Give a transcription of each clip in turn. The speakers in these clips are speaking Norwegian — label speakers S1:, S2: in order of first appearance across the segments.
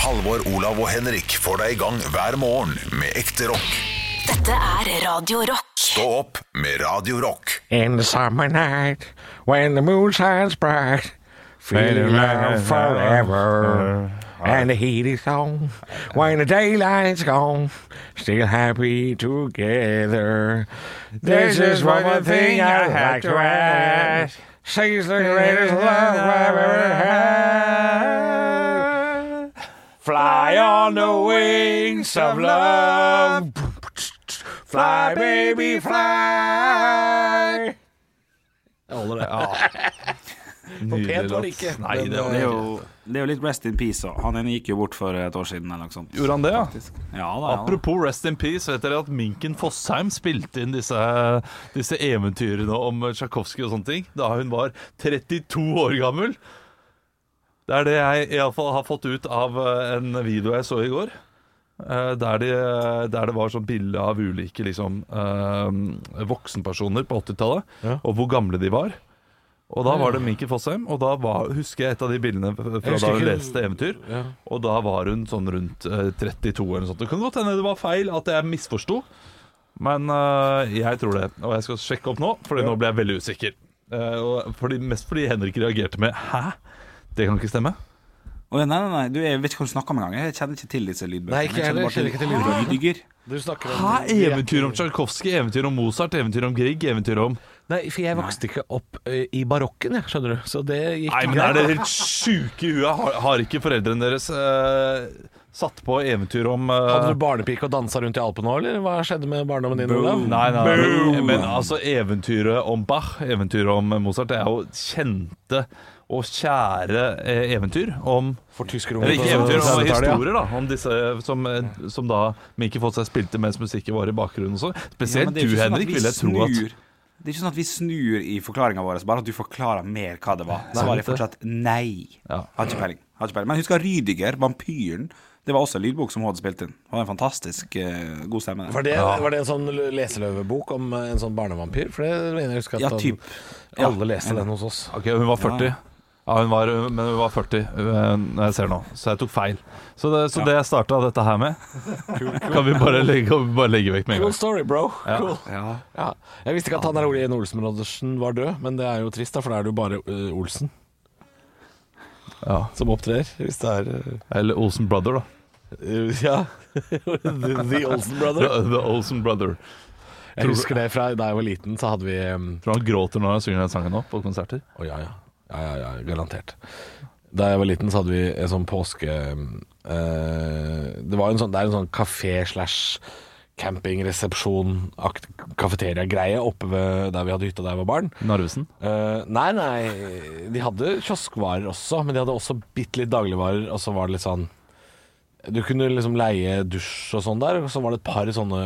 S1: Halvor, Olav og Henrik får deg i gang hver morgen med ekte rock.
S2: Dette er Radio Rock.
S1: Stå opp med Radio Rock.
S3: In the summer night, when the moon shines bright, feeling love Uh-huh. forever. And the heat is on, when the daylight's gone, still happy together. This is one thing I have to ask. She's the greatest love I've ever had. Fly on the wings of love. Fly, baby, fly.
S4: Pent var det ikke. Ah. Nei, det var
S5: Det er, jo, det er jo litt rest in peace. da. Han ene gikk jo bort for eh, et år siden. Eller noe sånt.
S4: Gjorde han det, ja?
S5: Ja, da, ja, da.
S4: Apropos Rest in Peace, vet dere at Minken Fossheim spilte inn disse, disse eventyrene om Tsjajkovskij og sånne ting da hun var 32 år gammel? Det er det jeg iallfall har fått ut av eh, en video jeg så i går. eh, Der, de, der det var sånn bilde av ulike liksom, eh, voksenpersoner på 80-tallet, og hvor gamle de var. Og da var det Minken Fossheim, og da var, husker jeg et av de bildene fra da hun leste eventyr. Og da var hun sånn rundt eh, 32 eller noe sånt. Det kan godt hende det var feil, at jeg misforsto. Men eh, jeg tror det. Og jeg skal sjekke opp nå, for nå ble jeg veldig usikker. Eh, og fordi, mest fordi Henrik reagerte med 'hæ? Det kan ikke stemme'.
S5: Å, ja, nei, nei, nei, du, jeg vet ikke hva du snakker om engang. Jeg kjenner ikke til disse lydbøkene.
S3: Nei, ikke jeg heller,
S5: jeg
S3: kjenner
S5: kjenner bare til lyddyger.
S3: Du snakker
S4: Hæ? Eventyr om Tsjajkovskij, eventyr om Mozart, eventyr om Grieg, eventyr om
S3: Nei, for jeg vokste ikke opp eh, i barokken, jeg, skjønner du. Så det gikk
S4: Nei, men er dere helt sjuke i huet? Har, har ikke foreldrene deres eh, satt på eventyr om eh,
S3: Hadde du barnepike og dansa rundt i Alpene òg, eller hva skjedde med barndommen din?
S5: Boom.
S3: Olav?
S4: Nei, nei, nei. Men, men altså, eventyret om Bach, eventyret om Mozart, det er jo kjente og kjære eh, eventyr om
S3: For
S4: Eller
S3: tyskerungen
S4: ikke eventyr, men historier, da. Om disse som, eh, som da Mikke fått seg spilte mens musikken var i bakgrunnen også.
S5: Ja,
S4: Spesielt
S5: men
S4: du,
S5: det er ikke sånn at
S4: Henrik,
S5: vi
S4: vil jeg tro at
S5: snur- Det er ikke sånn at vi snur i forklaringa vår, bare at du forklarer mer hva det var. Så var det fortsatt nei.
S4: Ja.
S5: Har ikke peiling. Har ikke peiling. Men husker Rydiger, vampyren. Det var også en lydbok som hun hadde spilt inn. Det var en fantastisk eh, god stemme.
S3: Var det, var det en sånn leseløvebok om eh, en sånn barnevampyr? For det mener jeg husker at
S5: Ja,
S3: han-
S5: typ. Ja.
S3: alle leste den hos oss.
S4: Ok, hun var 40. Ja. hun var, men hun var 40 eh, når jeg ser nå, så jeg tok feil. Så det, så det jeg starta dette her med, kan vi bare legge, kan vi bare legge vekk med en
S3: Cool
S4: gang.
S3: story, bro. Cool.
S5: Ja.
S3: Ja. Jeg visste ikke at han der Ole Jen Olsen-Roddersen var død, men det er jo trist, da, for da er det jo bare eh, Olsen
S4: Ja.
S3: som opptrer. Hvis det er eh,
S4: Eller Olsen Brother, da.
S3: eh, Ja. the, the Olsen
S4: The,
S3: Brother.
S4: the Olsen Brother.
S3: Jeg husker det fra da jeg var liten, så hadde vi eh,
S4: Tror du han gråter når han synger den sangen nå på konserter?
S3: Å ja, ja. Ja, ja, ja, garantert. Da jeg var liten, så hadde vi en sånn påske eh, Det var en sånn, det er en sånn kafé slash campingresepsjon kafeteria-greie oppe ved der vi hadde hytta da jeg var barn.
S4: Narvesen?
S3: Eh, nei, nei, de hadde kioskvarer også, men de hadde også bitte litt dagligvarer, og så var det litt sånn Du kunne liksom leie dusj og sånn der, og så var det et par sånne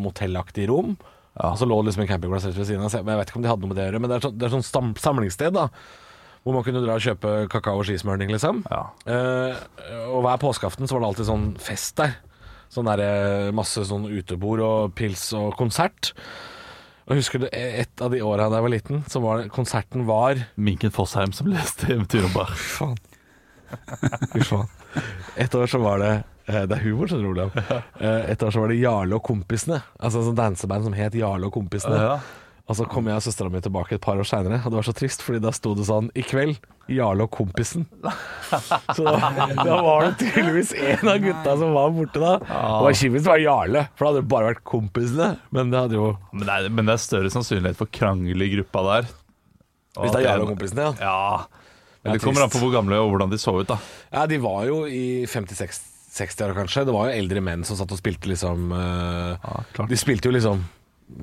S3: motellaktige rom. Og så lå det liksom en campingplass rett ved siden av. så jeg- Men jeg vet ikke om de hadde noe med det å gjøre, men det er sånn, det er sånn stam, samlingssted, da. Hvor man kunne dra og kjøpe kakao og skismørning, liksom.
S4: Ja.
S3: Eh, og hver påskeaften så var det alltid sånn fest der. Sånn der, eh, masse sånn utebord og pils og konsert. Og jeg husker det, et av de åra da jeg var liten, så var det, konserten var
S4: Minken Fossheim som leste eventyr om Bach.
S3: Fy faen. Fy faen. Et år så var det eh, Det er humor, skjønner du, Olav. Eh, Et år så var det Jarle og kompisene. Altså et sånt danseband som het Jarle og kompisene.
S4: Ja.
S3: Og så kom jeg og søstera mi tilbake et par år seinere, og det var så trist, fordi da sto det sånn I kveld, Jarle og kompisen. Så da, da var det tydeligvis en av gutta som var borte da. Og det kjipeste var Jarle, for da hadde det bare vært kompisene. Men det hadde jo
S4: Men det, er, men det er større sannsynlighet for krangel i gruppa der. Og
S3: Hvis det
S4: at
S3: er Jarle og
S4: en-
S3: kompisene, ja.
S4: Ja. Men
S3: Det
S4: det
S3: er
S4: kommer an
S3: trist.
S4: på hvor gamle og hvordan de så ut, da.
S3: Ja, de var jo i 50-60-åra kanskje. Det var jo eldre menn som satt og spilte liksom eh,
S4: Ja, klart.
S3: De spilte jo liksom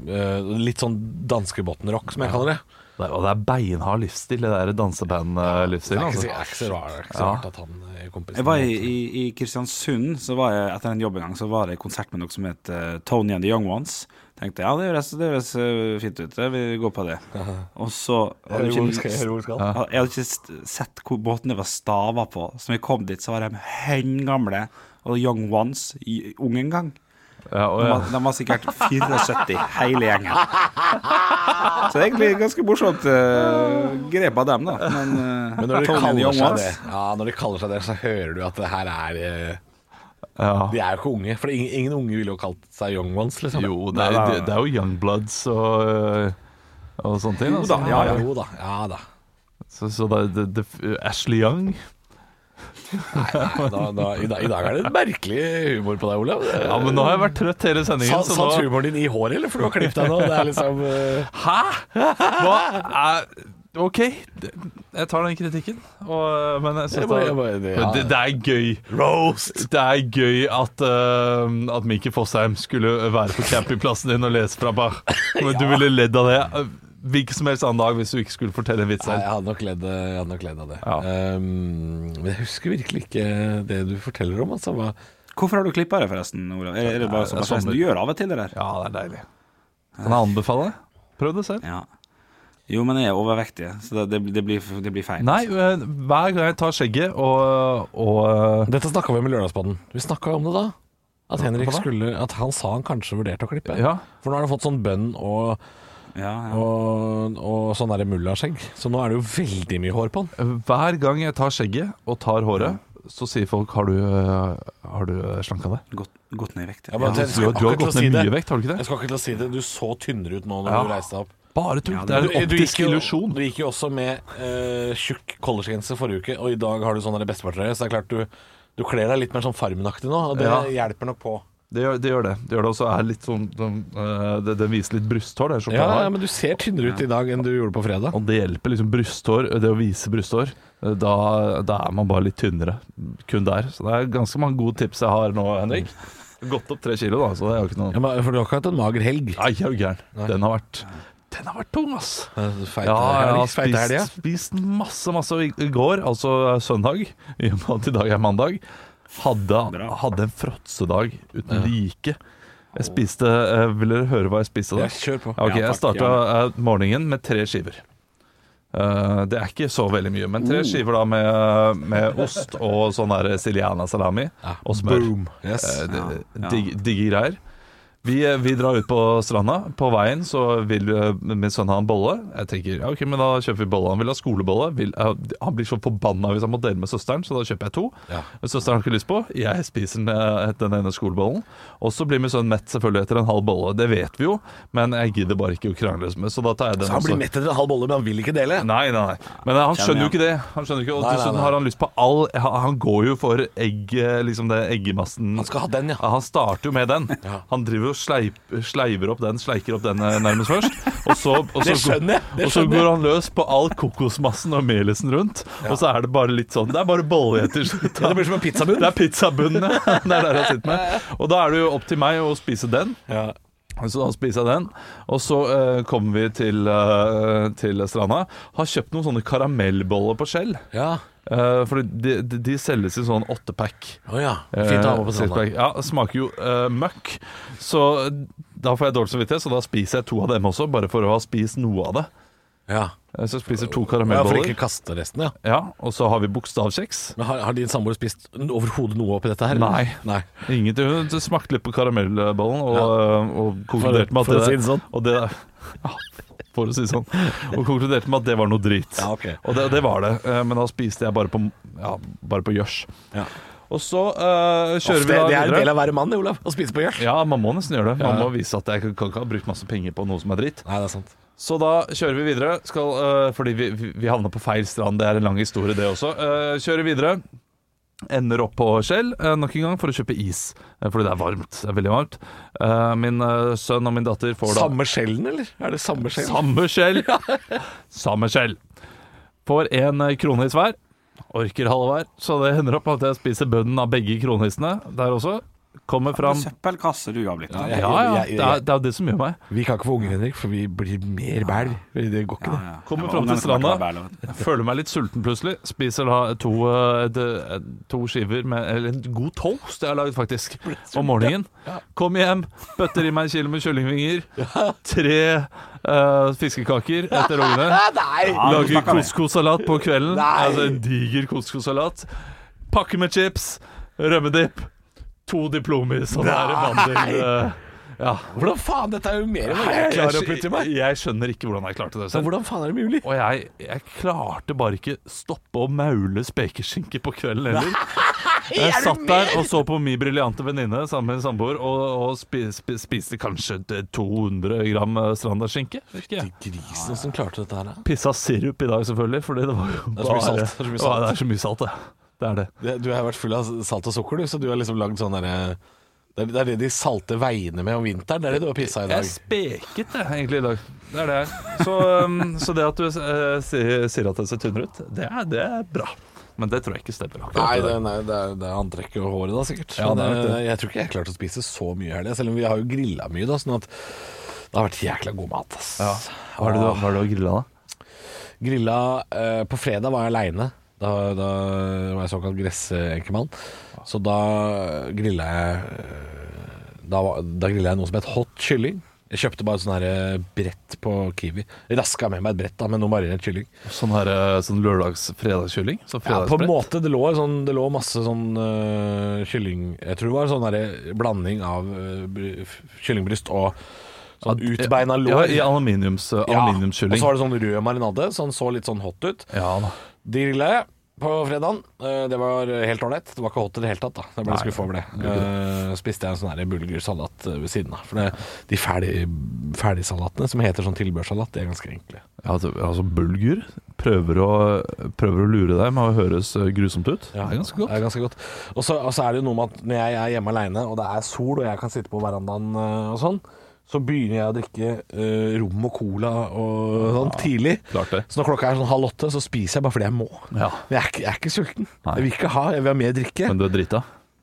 S3: eh, litt sånn danskebotnrock, som jeg kaller det.
S4: Det er, og det er beinhard livsstil, det der
S3: Det
S4: danseband-livsstilen.
S3: er ikke,
S4: Altså.
S3: så- det er ikke så rart, det er ikke så
S4: Ja.
S3: rart at han eh, kompisen
S5: Jeg var i, i, i Kristiansund, så var jeg etter en jobb en gang, så var det konsert med noe som het eh, Tony and the Young Ones. Tenkte ja, det høres, det høres eh, fint ut, det, vi går på det. Og så hadde jeg ikke, Ja. Jeg hadde ikke st- sett hvor båtene var stava på. Så når vi kom dit, så var de høngamle og Young Ones i ung en gang.
S4: Ja, og
S5: De
S4: jeg,
S5: var, de var sikkert 74, hele gjengen. Så det er egentlig ganske morsomt eh, grep av dem, da. Men, eh,
S3: Men når de
S5: Tony and the
S3: kaller
S5: Young
S3: seg
S5: Ones-
S3: det, ja, når de kaller seg det, så hører du at det her er eh,
S4: ja.
S3: De er jo ikke unge. For ingen, ingen unge ville jo kalt seg young ones, liksom.
S4: Jo, det er, det, det er jo Young Bloods og, øh, og sånne ting. Altså.
S5: ja, ja.
S3: Jo da. Ja da.
S4: Så, så det, det, det, Ashley Young
S3: Nei, da, da i, dag, I dag er det merkelig humor på deg, Olav. Det-
S4: Ja, men nå har jeg vært trøtt hele
S3: Sa-
S4: sendingen, så
S3: Satt
S4: nå
S3: humoren din i håret, eller? For du har klippet deg nå. Det er liksom eh,
S4: Hæ?! Hva er OK, det- jeg tar den kritikken, og, øh, men jeg
S3: Jeg
S4: synes
S3: bare-
S4: det,
S3: jeg bare- det- ja.
S4: det, det er gøy. Roast! Det er gøy at, øh, at Mikkel Fossheim skulle være på campingplassen din og lese fra Bach. Men du ville ledd av det hvilken som helst annen dag hvis du ikke skulle fortelle en vits
S3: Nei, jeg
S4: selv.
S3: hadde nok ledd, eh, jeg hadde nok ledd av det.
S4: Ja.
S3: Um, men jeg husker virkelig ikke det du forteller om. Altså. Hva,
S5: Hvorfor har du klippa det, forresten? Olav? Er, er det bare sånn
S4: det er
S5: forresten, du
S4: sommer.
S5: gjør av og til det der?
S4: Ja, det er deilig. Kan jeg anbefale? Prøv det selv.
S5: Ja. Jo, men jeg er overvektig, så det, det, det, blir, det blir feil.
S4: Nei, øh, hver gang jeg tar skjegget og, og
S3: Dette snakka vi om i Lørdagsbaden. Vi snakka om det da. At Henrik
S4: Hva da?
S3: skulle At han sa han kanskje vurderte å klippe.
S4: Ja.
S3: For nå har han fått sånn bønn og,
S5: Ja, ja.
S3: og, og sånn derre mullaskjegg. Så nå er det jo veldig mye hår på han.
S4: Hver gang jeg tar skjegget og tar håret, så sier folk Har du, øh, har du øh, slanka deg?
S5: Gått, gått ned i vekt.
S3: Jeg bare-
S5: ja.
S3: jeg
S4: Du,
S3: skal
S4: har- du har
S3: akkurat til å
S4: gått
S3: si
S4: ned
S3: det.
S4: mye vekt, har du ikke
S3: Jeg
S4: det?
S3: skal ikke til å si det. Du så tynnere ut nå når
S4: Ja.
S3: du reiste deg opp.
S4: Bare tull. Det er
S3: Du-
S4: en
S3: du gikk
S4: optisk
S3: jo-
S4: illusjon.
S3: Du gikk jo også med eh, tjukk collegegenser forrige uke, og i dag har du sånn derre bestefartrøye, så det er klart du, du kler deg litt mer sånn Farmen-aktig nå, og det
S4: Ja.
S3: hjelper nok på.
S4: Det gjør det. gjør det. Det gjør det også er litt sånn sånn, øh, det, det viser litt brysthår, det skjorta
S3: Ja,
S4: har.
S3: ja, men du ser tynnere ut i dag enn du gjorde på fredag.
S4: Og det hjelper liksom brysthår, det å vise brysthår. Da, da er man bare litt tynnere. Kun der. Så det er ganske mange gode tips jeg har nå, Henrik. Gått opp tre kilo, da, så det er jo ikke
S3: Ja,
S4: noe
S3: men, for du har ikke hatt en mager helg?
S4: Nei, jeg er jo gæren. Den har vært Den har vært tung, ass.
S3: Eh, Feit
S4: Ja, jeg har
S3: helg, feit helg, ja.
S4: spist, spist masse, masse Og i i går, altså søndag, i og med at i dag er mandag, hadde,
S5: Bra.
S4: hadde en fråtsedag uten like. Jeg spiste eh, Vil dere høre hva jeg spiste da?
S3: Ja, kjør på.
S4: Ja, ok,
S5: Ja,
S4: jeg
S5: takk,
S4: starta eh, morgenen med tre skiver. Eh, det er ikke så veldig mye, men
S5: Oh.
S4: tre skiver da med, med ost og sånn der siliana salami og smør.
S3: Boom. Yes.
S4: Eh, det-
S5: Ja.
S4: Digg, digge greier. Vi, eh, vi drar ut på stranda. På veien så vil eh, min sønn ha en bolle. Jeg tenker, ja, ok, men da kjøper vi bolle. Han vil ha skolebolle. Vil, eh, han blir så forbanna hvis han må dele med søsteren, så da kjøper jeg to.
S3: Ja.
S4: Søsteren har ikke lyst på. Jeg spiser den, eh, den ene skolebollen. Og så blir min sønn mett selvfølgelig etter en halv bolle. Det vet vi jo, men jeg gidder bare ikke å krangle med, så da tar jeg den
S3: Så han blir
S4: også.
S3: mett etter en halv bolle, men han vil ikke dele.
S4: Nei, nei, nei. Men eh, han skjønner jo
S5: igjen.
S4: ikke det. Han skjønner ikke, Og
S3: Nei, nei,
S4: dessuten
S3: nei.
S4: har han lyst på all Han han går jo for egg, eh, liksom det eggemassen
S3: Han skal ha den, ja.
S4: Han starter jo med den. Han driver og sleip, sleiver opp den, sleiker opp den eh, nærmest først. Og så, og så,
S3: Det skjønner jeg, det
S4: og så
S3: skjønner jeg.
S4: går han løs på all kokosmassen og melisen rundt. Og så er det bare litt sånn Det er bare bolle til slutt.
S3: Ja, det blir som en pizzabunn.
S4: Det er pizzabunnen, ja. Det er der han sitter med. Og da er det jo opp til meg å spise den.
S3: Ja.
S4: Så da spiser jeg den, og så eh, kommer vi til, eh, til stranda. Har kjøpt noen sånne karamellboller på skjell.
S3: Ja.
S4: Eh, for de, de, de selges i sånn åttepack.
S3: Å ja. Fint å ha med på
S4: Eh,
S3: stranda.
S4: sixpack. Ja, det smaker jo eh, møkk. Så da får jeg dårlig samvittighet, så da spiser jeg to av dem også, bare for å ha spist noe av det.
S3: Ja.
S4: Eh, Så jeg spiser to
S3: ja, for
S4: karamellboller.
S3: ikke kaste resten, ja.
S4: Ja, og så har vi bokstavkjeks.
S3: Men har, har din samboer spist overhodet noe oppi dette her?
S4: Nei.
S3: Nei.
S4: Ingenting. Hun smakte litt på karamellbollen og, eh, og konkluderte med at
S3: for å si det sånn.
S4: Og det, ja, for å si det sånn. Og konkluderte med at det var noe drit.
S3: Ja, ok.
S4: Og det, det var det. eh, Men da spiste jeg bare på ja, bare på gjørs.
S3: Ja.
S4: Og så eh,
S3: det,
S4: kjører vi
S3: det
S4: da
S3: er en del av
S4: videre.
S3: å være mann, Olav. Å spise på gjørs.
S4: Ja, man må nesten gjøre det. Man
S3: Ja.
S4: må vise at jeg kan kan ikke ha brukt masse penger på noe som er dritt.
S3: Nei, det er sant.
S4: Så da kjører vi videre, skal, øh, fordi vi, vi, vi havna på feil strand. Det er en lang historie, det også. Øh, kjører videre. Ender opp på Skjell øh, nok en gang for å kjøpe is, øh, fordi det er varmt. Det er veldig varmt. Eh, min øh, sønn og min datter får da
S3: Samme skjellen, eller? Er det samme skjell?
S4: Samme Skjell! Samme Skjell. Får én øh, kronehis hver. Orker halve hver. Så det hender opp at jeg spiser bønnen av begge kronehisene der også. Kommer fram
S5: Søppelkasse du har blitt. da.
S3: Ja,
S4: Ja, ja.
S3: Jeg- jeg-
S4: Det er, det er jo det som gjør meg.
S3: Vi kan ikke få unger, Henrik, for vi blir mer bæl. Det går ikke, det.
S5: Ja.
S4: Kommer fram til
S5: Ja, ungene kommer
S4: stranda.
S5: å være bæla, vet du.
S4: Jeg Føler meg litt sulten plutselig. Spiser da to, eh, de- to skiver med Eller en god toast jeg har laget, faktisk, om morgenen. Kom hjem, bøtter i meg en kilo med kyllingvinger. Tre eh, fiskekaker etter ungene.
S3: Nei!
S5: Ja, nå
S4: Lager
S5: snakker vi.
S4: couscous-salat på kvelden.
S3: Nei.
S4: Altså En diger couscous-salat. Pakke med chips. Rømmedipp. to diplomer som er vandel... eh, Ja.
S3: Hvordan faen? Dette er jo mer enn hva jeg klarer å putte i meg.
S4: Jeg, jeg skjønner ikke hvordan jeg klarte det
S3: Så
S4: selv.
S3: hvordan faen er det mulig?
S4: Og jeg, jeg klarte bare ikke stoppe å maule spekeskinke på kvelden heller. Jeg satt der og så på min briljante venninne sammen med en samboer, og, og spi, spi, spiste kanskje 200 gram eh, strandaskinke. husker jeg.
S3: Grisen som klarte dette her, da.
S4: Pissa sirup i dag, selvfølgelig, fordi det var jo
S3: er så mye
S4: bare
S3: salt, det er så mye salt.
S4: Ja, det er så mye salt, det. Det er det.
S3: Det- Du har vært full av salt og sukker, du, så du har liksom lagd sånn derre det er- det er det de salte veiene med om vinteren. Det er det du har pissa i dag.
S4: Jeg er speket, jeg, egentlig, i dag. Det er det jeg er. Så, um, så det at du eh, sier, sier at det ser tynnere ut, det er, det er bra. Men det tror jeg ikke stemmer. akkurat
S3: Nei,
S4: i dag.
S3: det, nei det, er, det er antrekket og håret da, sikkert.
S4: Ja, det er
S3: Men,
S4: nok det.
S3: eh, Jeg tror ikke jeg klarte å spise så mye her, det, selv om vi har jo grilla mye, da, sånn at det har vært jækla god mat. Ass.
S4: Ja. Hva er det du, hva er det du har grilla, da?
S3: Grilla eh, På fredag var jeg aleine. Da, da var jeg såkalt gressenkemann. Så da grilla jeg eh, Da, var- da grilla jeg noe som het hot kylling. Jeg kjøpte bare sånn her eh, brett på Kiwi. Raska med meg et brett da med noe marinert kylling.
S4: Sånn, her, eh, sånn lørdags-fredagskylling? Sånn
S3: Ja, på en
S4: fredagsbrett?
S3: måte. Det lå, sånn, det lå masse sånn øh, kylling Jeg tror det var sånn derre blanding av øh, bry- f- kyllingbryst og sånn
S4: Ja,
S3: utbeina
S4: Ja,
S3: lår.
S4: i aluminiums, eh,
S3: Ja, Og
S4: aluminiumskylling.
S3: så var det sånn rød marinade, så han så litt sånn hot ut.
S4: Ja da.
S3: De grilla jeg på fredagen. Eh, Det var helt ålreit. Det var ikke hot i det hele tatt, da. Jeg ble
S4: Nei,
S3: skuffa over det. Eh, spiste jeg en sånn her bulgersalat eh, ved siden av. For det, de ferdig, ferdigsalatene som heter sånn tilbehørsalat, de er ganske enkle.
S4: Ja, altså, altså bulgur prøver å, prøver å lure deg med å høres eh, grusomt ut. det er ganske godt.
S3: Det er ganske godt. Og så og så er det jo noe med at når jeg er hjemme alene, og det er sol, og jeg kan sitte på verandaen eh, og sånn, så begynner jeg å drikke eh, rom og cola og sånn tidlig.
S4: klart det.
S3: Så når klokka er sånn halv åtte, så spiser jeg bare fordi jeg må.
S4: Ja.
S3: Men Jeg er, ikke, jeg er ikke sulten.
S4: Nei.
S3: Jeg vil ikke ha, jeg vil ha mer drikke.
S4: Men du er drita?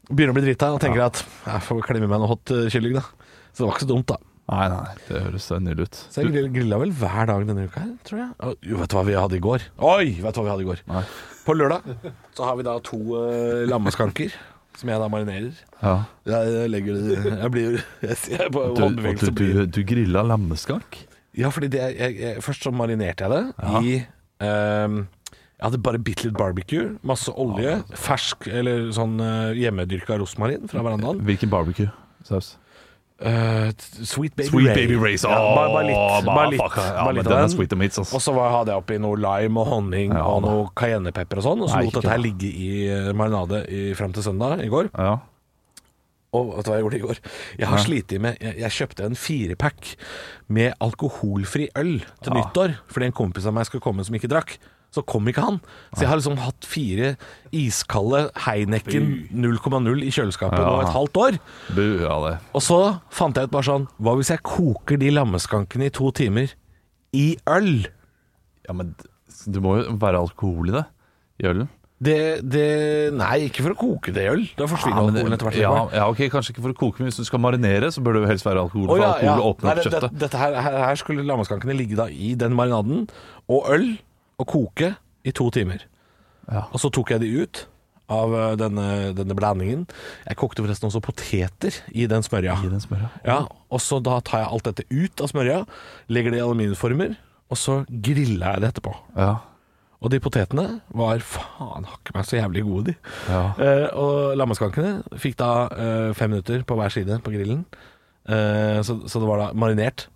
S3: Begynner å bli drita og tenker at jeg får klemme meg noe hot eh, kylling, da. Så det var ikke så dumt, da.
S4: Nei, nei, det høres eh, nydelig ut.
S3: Så jeg grill- grilla vel hver dag denne uka her, tror jeg. Og, jo, vet du hva vi hadde i går? Oi, vet du hva vi hadde i går?
S4: Nei.
S3: På lørdag så har vi da to eh, lammeskanker, som jeg da marinerer.
S4: Ja.
S3: Jeg legger det Jeg blir Jeg ser på
S4: Du, og du,
S3: håndbevegelsen
S4: du, du grilla lammeskank?
S3: Ja, fordi det, jeg, jeg, først så marinerte jeg det
S4: Ja.
S3: i ehm, Jeg hadde bare bitte litt barbecue, masse
S4: Ah.
S3: olje, fersk eller sånn eh, hjemmedyrka rosmarin fra verandaen.
S4: Hvilken barbecue-saus?
S3: Eh, t- sweet Baby
S4: Sweet
S3: Ray.
S4: Baby Race.
S3: Ja, bare, bare
S4: Åh,
S3: litt. Bare litt,
S4: motherfucker. Ja,
S3: bare
S4: men
S3: litt
S4: den
S3: av
S4: er sweet and meats, ass.
S3: Og så var- hadde jeg oppi noe lime og honning
S4: Ja,
S3: og
S4: da.
S3: noe cayennepepper og sånn. Og så
S4: Nei,
S3: lot
S4: ikke
S3: dette her
S4: bra.
S3: ligge i eh, marinade i- fram til søndag i går.
S4: Ja.
S3: Og vet du hva jeg gjorde i går? Jeg har slitt i med jeg, jeg kjøpte en firepack med alkoholfri øl til
S4: Ah.
S3: nyttår fordi en kompis av meg skulle komme som ikke drakk. Så kom ikke han.
S4: Ah.
S3: Så jeg har liksom hatt fire iskalde Heineken 0,0 i kjøleskapet nå et
S4: Ja.
S3: halvt år.
S4: Bu, ja det.
S3: Og så fant jeg ut bare sånn Hva hvis jeg koker de lammeskankene i to timer i øl?
S4: Ja, men du må jo være alkohol i det. I ølen.
S3: Det, det Nei, ikke for å koke det i øl. Da forsvinner
S4: Ja, men det-
S3: alkoholen etter hvert.
S4: Ja, ja, ok, kanskje ikke for å koke, men hvis du skal marinere, så bør det jo helst være
S3: Å,
S4: alkohol. For
S3: ja, ja.
S4: alkohol åpner
S3: Nei,
S4: opp
S3: det, det,
S4: kjøttet.
S3: dette her, her, her skulle lammeskankene ligge da i den marinaden og øl og koke i to timer.
S4: Ja.
S3: Og så tok jeg de ut av eh, denne, denne blandingen. Jeg kokte forresten også poteter i den smørja.
S4: Gi den smør, ja.
S3: Ja, og så da tar jeg alt dette ut av smørja, legger det i aluminiumformer, og så griller jeg det etterpå.
S4: Ja.
S3: Og de potetene var faen hakke meg så jævlig gode, de.
S4: Ja.
S3: Eh, og lammeskankene fikk da eh, fem minutter på hver side på grillen. Eh, så, så det var da marinert,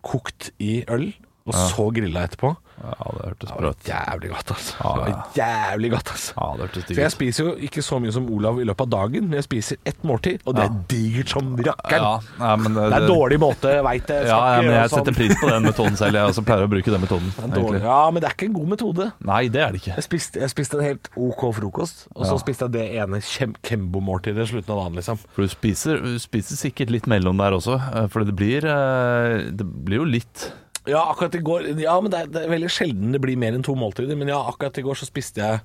S3: kokt i øl, og så grilla etterpå.
S4: ja, det hørtes
S3: Det
S4: bra
S3: var
S4: ut.
S3: jævlig godt, altså.
S4: Ja,
S3: Det var jævlig godt, altså.
S4: Ja, det
S3: Så
S4: hørtes
S3: jeg
S4: digg ut.
S3: spiser jo ikke så mye som Olav i løpet av dagen, men jeg spiser ett måltid, og det er digert som rakkeren.
S4: Ja, nei, men eh,
S3: Det er dårlig måte, jeg veit det.
S4: Ja, ja,
S3: Skal ikke
S4: men
S3: gjøre
S4: jeg setter
S3: sånn.
S4: pris på den metoden selv. Jeg også pleier å bruke den metoden.
S3: Det er dårlig.
S4: egentlig.
S3: Ja, men det er ikke en god metode.
S4: Nei, det er det ikke.
S3: Jeg spiste, jeg spiste en helt OK frokost, og så spiste jeg det ene kjem- Kembo-måltidet i slutten av dagen, liksom.
S4: For du spiser, du spiser sikkert litt mellom der også, eh, for det blir, eh, det blir jo litt
S3: Ja, akkurat i går Ja, men det er, det er veldig sjelden det blir mer enn to måltider. Men ja, akkurat i går så spiste jeg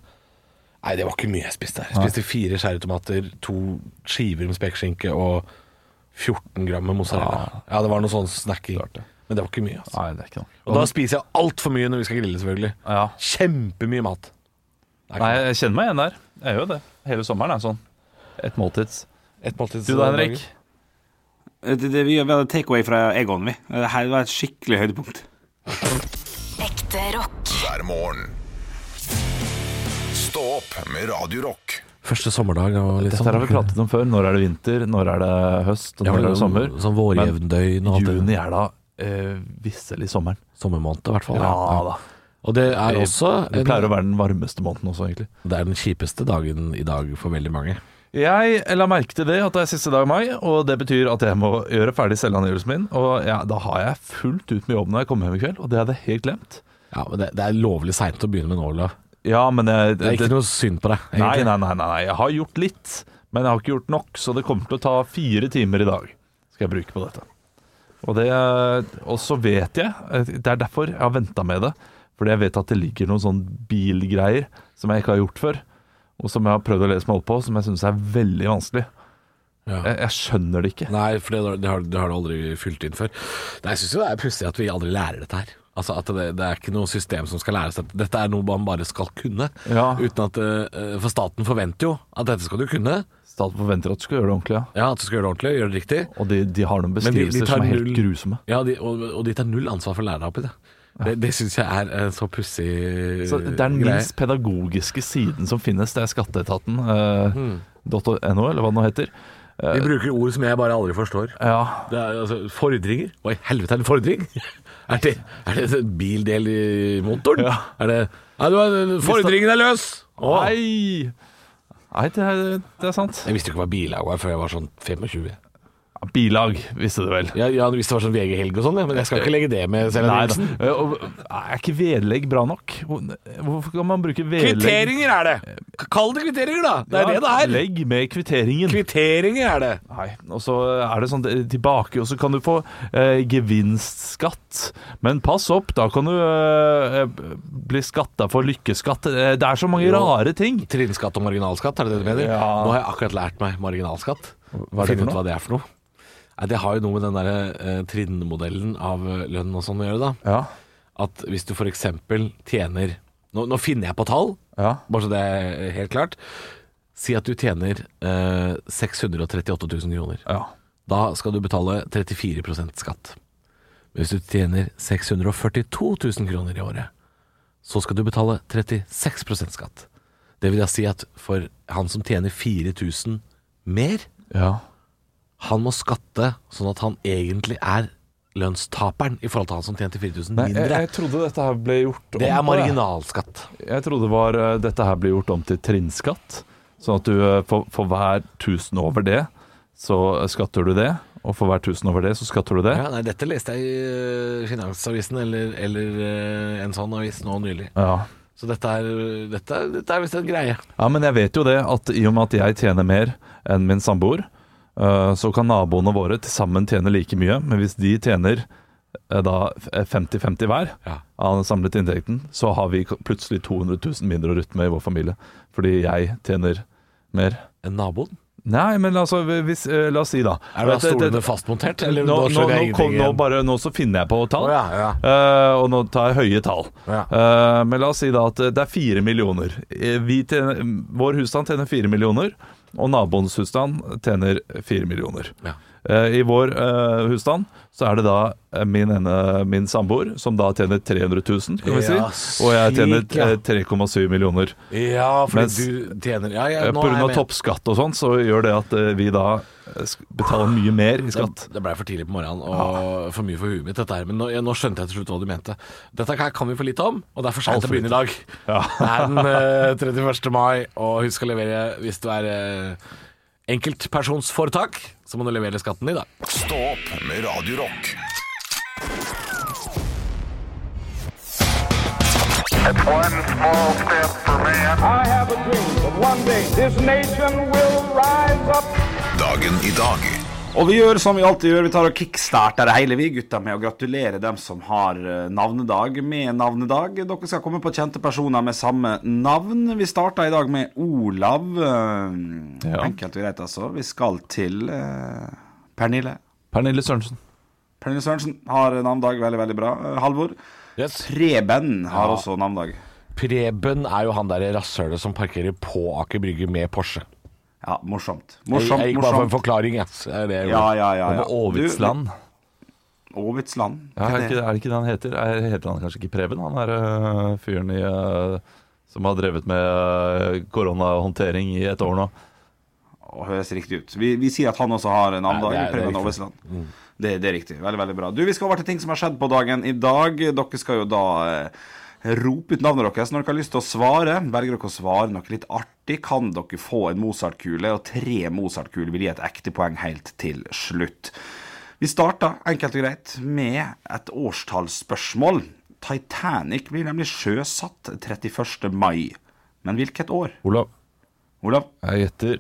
S3: Nei, det var ikke mye jeg spiste. Jeg spiste fire skjæretomater, to skiver med spekeskinke og 14 gram med
S4: Ah.
S3: mozzarella. Ja, det var noe sånn snacking. Men det var ikke mye. Altså.
S4: Nei, det er ikke noe.
S3: Og da spiser jeg altfor mye når vi skal grille, selvfølgelig.
S4: Ja.
S3: Kjempemye mat. Det er ikke
S4: Nei, jeg kjenner meg igjen der. Jeg gjør jo det. Hele sommeren er sånn. Et måltids.
S3: et måltid
S4: Du da, Henrik?
S6: Det, det, vi gjør takeaway fra Egon, vi. Det her var et skikkelig høydepunkt.
S2: Ekte rock.
S1: hver morgen. Stå opp med Radio Rock.
S3: Første sommerdag og litt
S4: Dette
S3: sånn.
S4: har vi pratet om før. Når er det vinter, når er det høst, og
S3: Ja,
S4: når
S3: det
S4: er det sommer?
S3: Sånn vårjevndøgn og alt det.
S4: Juni er da eh, visselig sommeren.
S3: Sommermåned, i hvert fall.
S4: da.
S3: Og det er også
S4: Det pleier å
S3: en,
S4: være den varmeste måneden også, egentlig.
S3: Det er den kjipeste dagen i dag for veldig mange.
S4: Jeg la merke til det at det er siste dag i mai, og det betyr at jeg må gjøre ferdig selvangivelsen min. Og ja, da har jeg fullt ut med jobben når jeg kommer hjem i kveld, og det hadde jeg helt glemt.
S3: Ja, men Det, det er lovlig seint å begynne med nå, Olav.
S4: Ja, men jeg,
S3: Det er
S4: det-
S3: ikke noe synd på deg.
S4: Nei,
S3: egentlig.
S4: nei, nei, nei, nei, jeg har gjort litt, men jeg har ikke gjort nok, så det kommer til å ta fire timer i dag. Skal jeg bruke på dette. Og, det, og så vet jeg, det er derfor jeg har venta med det. Fordi jeg vet at det ligger noen sånn bilgreier som jeg ikke har gjort før. Og som jeg har prøvd å lese meg opp på, som jeg syns er veldig vanskelig.
S3: Ja.
S4: Jeg, jeg skjønner det ikke.
S3: Nei, for det, det, har, det har du aldri fylt inn før. Nei, Jeg syns det er pussig at vi aldri lærer dette her. Altså at det, det er ikke noe system som skal læres dette. Dette er noe man bare skal kunne.
S4: Ja.
S3: Uten at, eh, For staten forventer jo at dette skal du kunne.
S4: Staten forventer at du skal gjøre det ordentlig, ja.
S3: Ja, At du skal gjøre det ordentlig, gjøre det riktig.
S4: Og de, de har noen
S3: de- de
S4: beskrivelser
S3: tar
S4: som er helt
S3: null-
S4: grusomme.
S3: Ja, de, og, og de tar null ansvar for å lære deg opp i det. Det, det syns jeg er en så pussig Eh,
S4: Så det er den minst pedagogiske siden som finnes. Det er skatteetaten. eh,
S3: Hmm.
S4: .no, eller hva det nå heter.
S3: De bruker ord som jeg bare aldri forstår.
S4: Ja,
S3: Det er altså Fordringer? Hva i helvete er en fordring? Er det, er det en bildel i motoren?
S4: Ja.
S3: Er det Nei, du, har- fordringen er løs! Å.
S4: Nei! Nei, det er, det er sant.
S3: Jeg visste jo ikke hva bilag var før jeg var sånn 25.
S4: Ja, Bilag, visste du vel.
S3: Jeg, jeg hadde visst det var sånn VG-helg og sånn, ja, men jeg skal ikke legge det med
S4: Nei, da.
S3: selvangivelsen.
S4: Eh, og- Er ikke vedlegg bra nok? Hvor- Hvorfor kan man bruke vedlegg?
S3: Kvitteringer er det! K- Kall det kvitteringer, da! Det er det
S4: Ja,
S3: det er.
S4: Legg med kvitteringen.
S3: Kvitteringer er det.
S4: Nei, og så er det sånn eh, tilbake, og så kan du få eh, gevinstskatt. Men pass opp, da kan du eh, eh, bli skatta for lykkeskatt. Eh, Det er så mange
S3: Jo.
S4: rare ting.
S3: Trinnskatt og marginalskatt, er det det du mener?
S4: Ja.
S3: Nå har jeg akkurat lært meg marginalskatt.
S4: hva er det
S3: Finn
S4: for
S3: ut
S4: noe?
S3: hva det er for noe. Nei, det har jo noe med den derre eh, trinnmodellen av eh, lønn og sånn å gjøre, da.
S4: Ja,
S3: At hvis du f.eks. tjener nå, nå finner jeg på tall,
S4: ja.
S3: bare så det er eh, helt klart. Si at du tjener eh, 638 000 kroner.
S4: ja.
S3: Da skal du betale 34 skatt. Men hvis du tjener 642 000 kroner i året, så skal du betale 36 skatt. Det vil da si at for han som tjener 4000 mer,
S4: ja.
S3: han må skatte sånn at han egentlig er lønnstaperen i forhold til han som tjente 4000
S4: Nei, jeg,
S3: mindre.
S4: jeg trodde dette her ble gjort
S3: Det er
S4: på, jeg.
S3: marginalskatt.
S4: Jeg trodde det var eh, dette her blir gjort om til trinnskatt. Sånn at du eh, for, for hver tusen over det, så skatter du det. Og for hver tusen over det, så skatter du det.
S3: Ja, nei, dette leste jeg i eh, Finansavisen eller, eller eh, en sånn avis nå nylig.
S4: Ja.
S3: Så dette er, dette, er- dette er visst en greie.
S4: ja, men jeg vet jo det at i og med at jeg tjener mer enn min samboer, eh, så kan naboene våre til sammen tjene like mye. Men hvis de tjener eh, da f- eh, 50-50 hver
S3: Ja.
S4: av den samlede inntekten, så har vi k- plutselig 200 000 mindre å rutte med i vår familie. Fordi jeg tjener mer.
S3: En naboen?
S4: Nei, men altså, hvis, eh, la oss si da
S3: Er det da
S4: At det- det-
S3: stolene fastmontert? Eller
S4: nå, nå,
S3: skjønner
S4: nå,
S3: jeg
S4: kom,
S3: ingenting
S4: nå,
S3: igjen.
S4: bare, nå så finner jeg på tall,
S3: Å, ja, ja.
S4: Eh, og nå tar jeg høye tall.
S3: Ja.
S4: Eh, men la oss si da at det er fire millioner. Eh, Vi tjener, vår husstand tjener fire millioner, og naboens husstand tjener fire millioner.
S3: Ja.
S4: Eh, I vår eh, husstand så er det da eh, min, ene, min samboer som da tjener 300 000, kan vi
S3: Ja,
S4: si, og jeg tjener
S3: slik, ja.
S4: eh, 3,7 millioner.
S3: ja, fordi
S4: Mens-
S3: du tjener ja, ja,
S4: Eh,
S3: nå
S4: På
S3: er jeg
S4: grunn av
S3: med.
S4: toppskatt og sånn, så gjør det at eh, vi da eh, sk- betaler mye mer i skatt.
S3: Det, det blei for tidlig på morgenen og for mye for huet mitt, dette her. Men nå, ja, nå skjønte jeg til slutt hva du mente. Dette her kan vi for lite om, og det er for seint
S4: Alt
S3: å
S4: for
S3: begynne i dag.
S4: Ja.
S3: Det er den eh, 31. mai, og husk å levere hvis du er eh, enkeltpersonsforetak, så må du levere skatten i dag.
S1: Stå opp med Radio Rock.
S7: One small step for man.
S8: I have a dream that one day this nation will rise up.
S1: Dagen i dag
S6: Og vi gjør som vi alltid gjør, vi tar og kickstarter det hele, vi gutta, med å gratulere dem som har eh, navnedag med navnedag. Dere skal komme på kjente personer med samme navn. Vi starter i dag med Olav. eh,
S4: Ja.
S6: Enkelt og greit, altså. Vi skal til eh, Pernille.
S4: Pernille Sørensen.
S6: Pernille Sørensen har navnedag, veldig, veldig bra. Eh, Halvor.
S3: Yes.
S6: Preben har også navnedag.
S3: Preben er jo han der rasshølet som parkerer på Aker Brygge med Porsche.
S6: Ja, morsomt.
S3: Jeg,
S6: Morsomt,
S3: jeg gikk bare for en
S6: morsomt.
S3: forklaring, jeg. Det er det jeg
S6: Ja,
S3: gjorde.
S6: ja, ja. ja.
S4: Over Åvitsland.
S6: Ovitsland.
S4: eh, Ja, er, det ikke, er det ikke det han heter? Er, heter han kanskje ikke Preben? Han er øh, fyren i øh, som har drevet med eh, koronahåndtering i et år nå.
S6: og høres riktig ut. Vi, vi sier at han også har en annen
S3: Nei,
S6: dag.
S3: det er- det er
S6: Preben
S3: riktig. Mm.
S6: Aavesland. Det, det er riktig. Veldig, veldig bra. Du, Vi skal over til ting som har skjedd på dagen i dag. Dere skal jo da eh, rope ut navnet deres når dere har lyst til å svare. Velger dere å svare noe litt artig, kan dere få en Mozart-kule, og tre Mozart-kuler vil gi et ekte poeng helt til slutt. Vi starter enkelt og greit med et årstallsspørsmål. Titanic blir nemlig sjøsatt 31. mai. Men hvilket år?
S4: Olav,
S6: Olav?
S4: jeg gjetter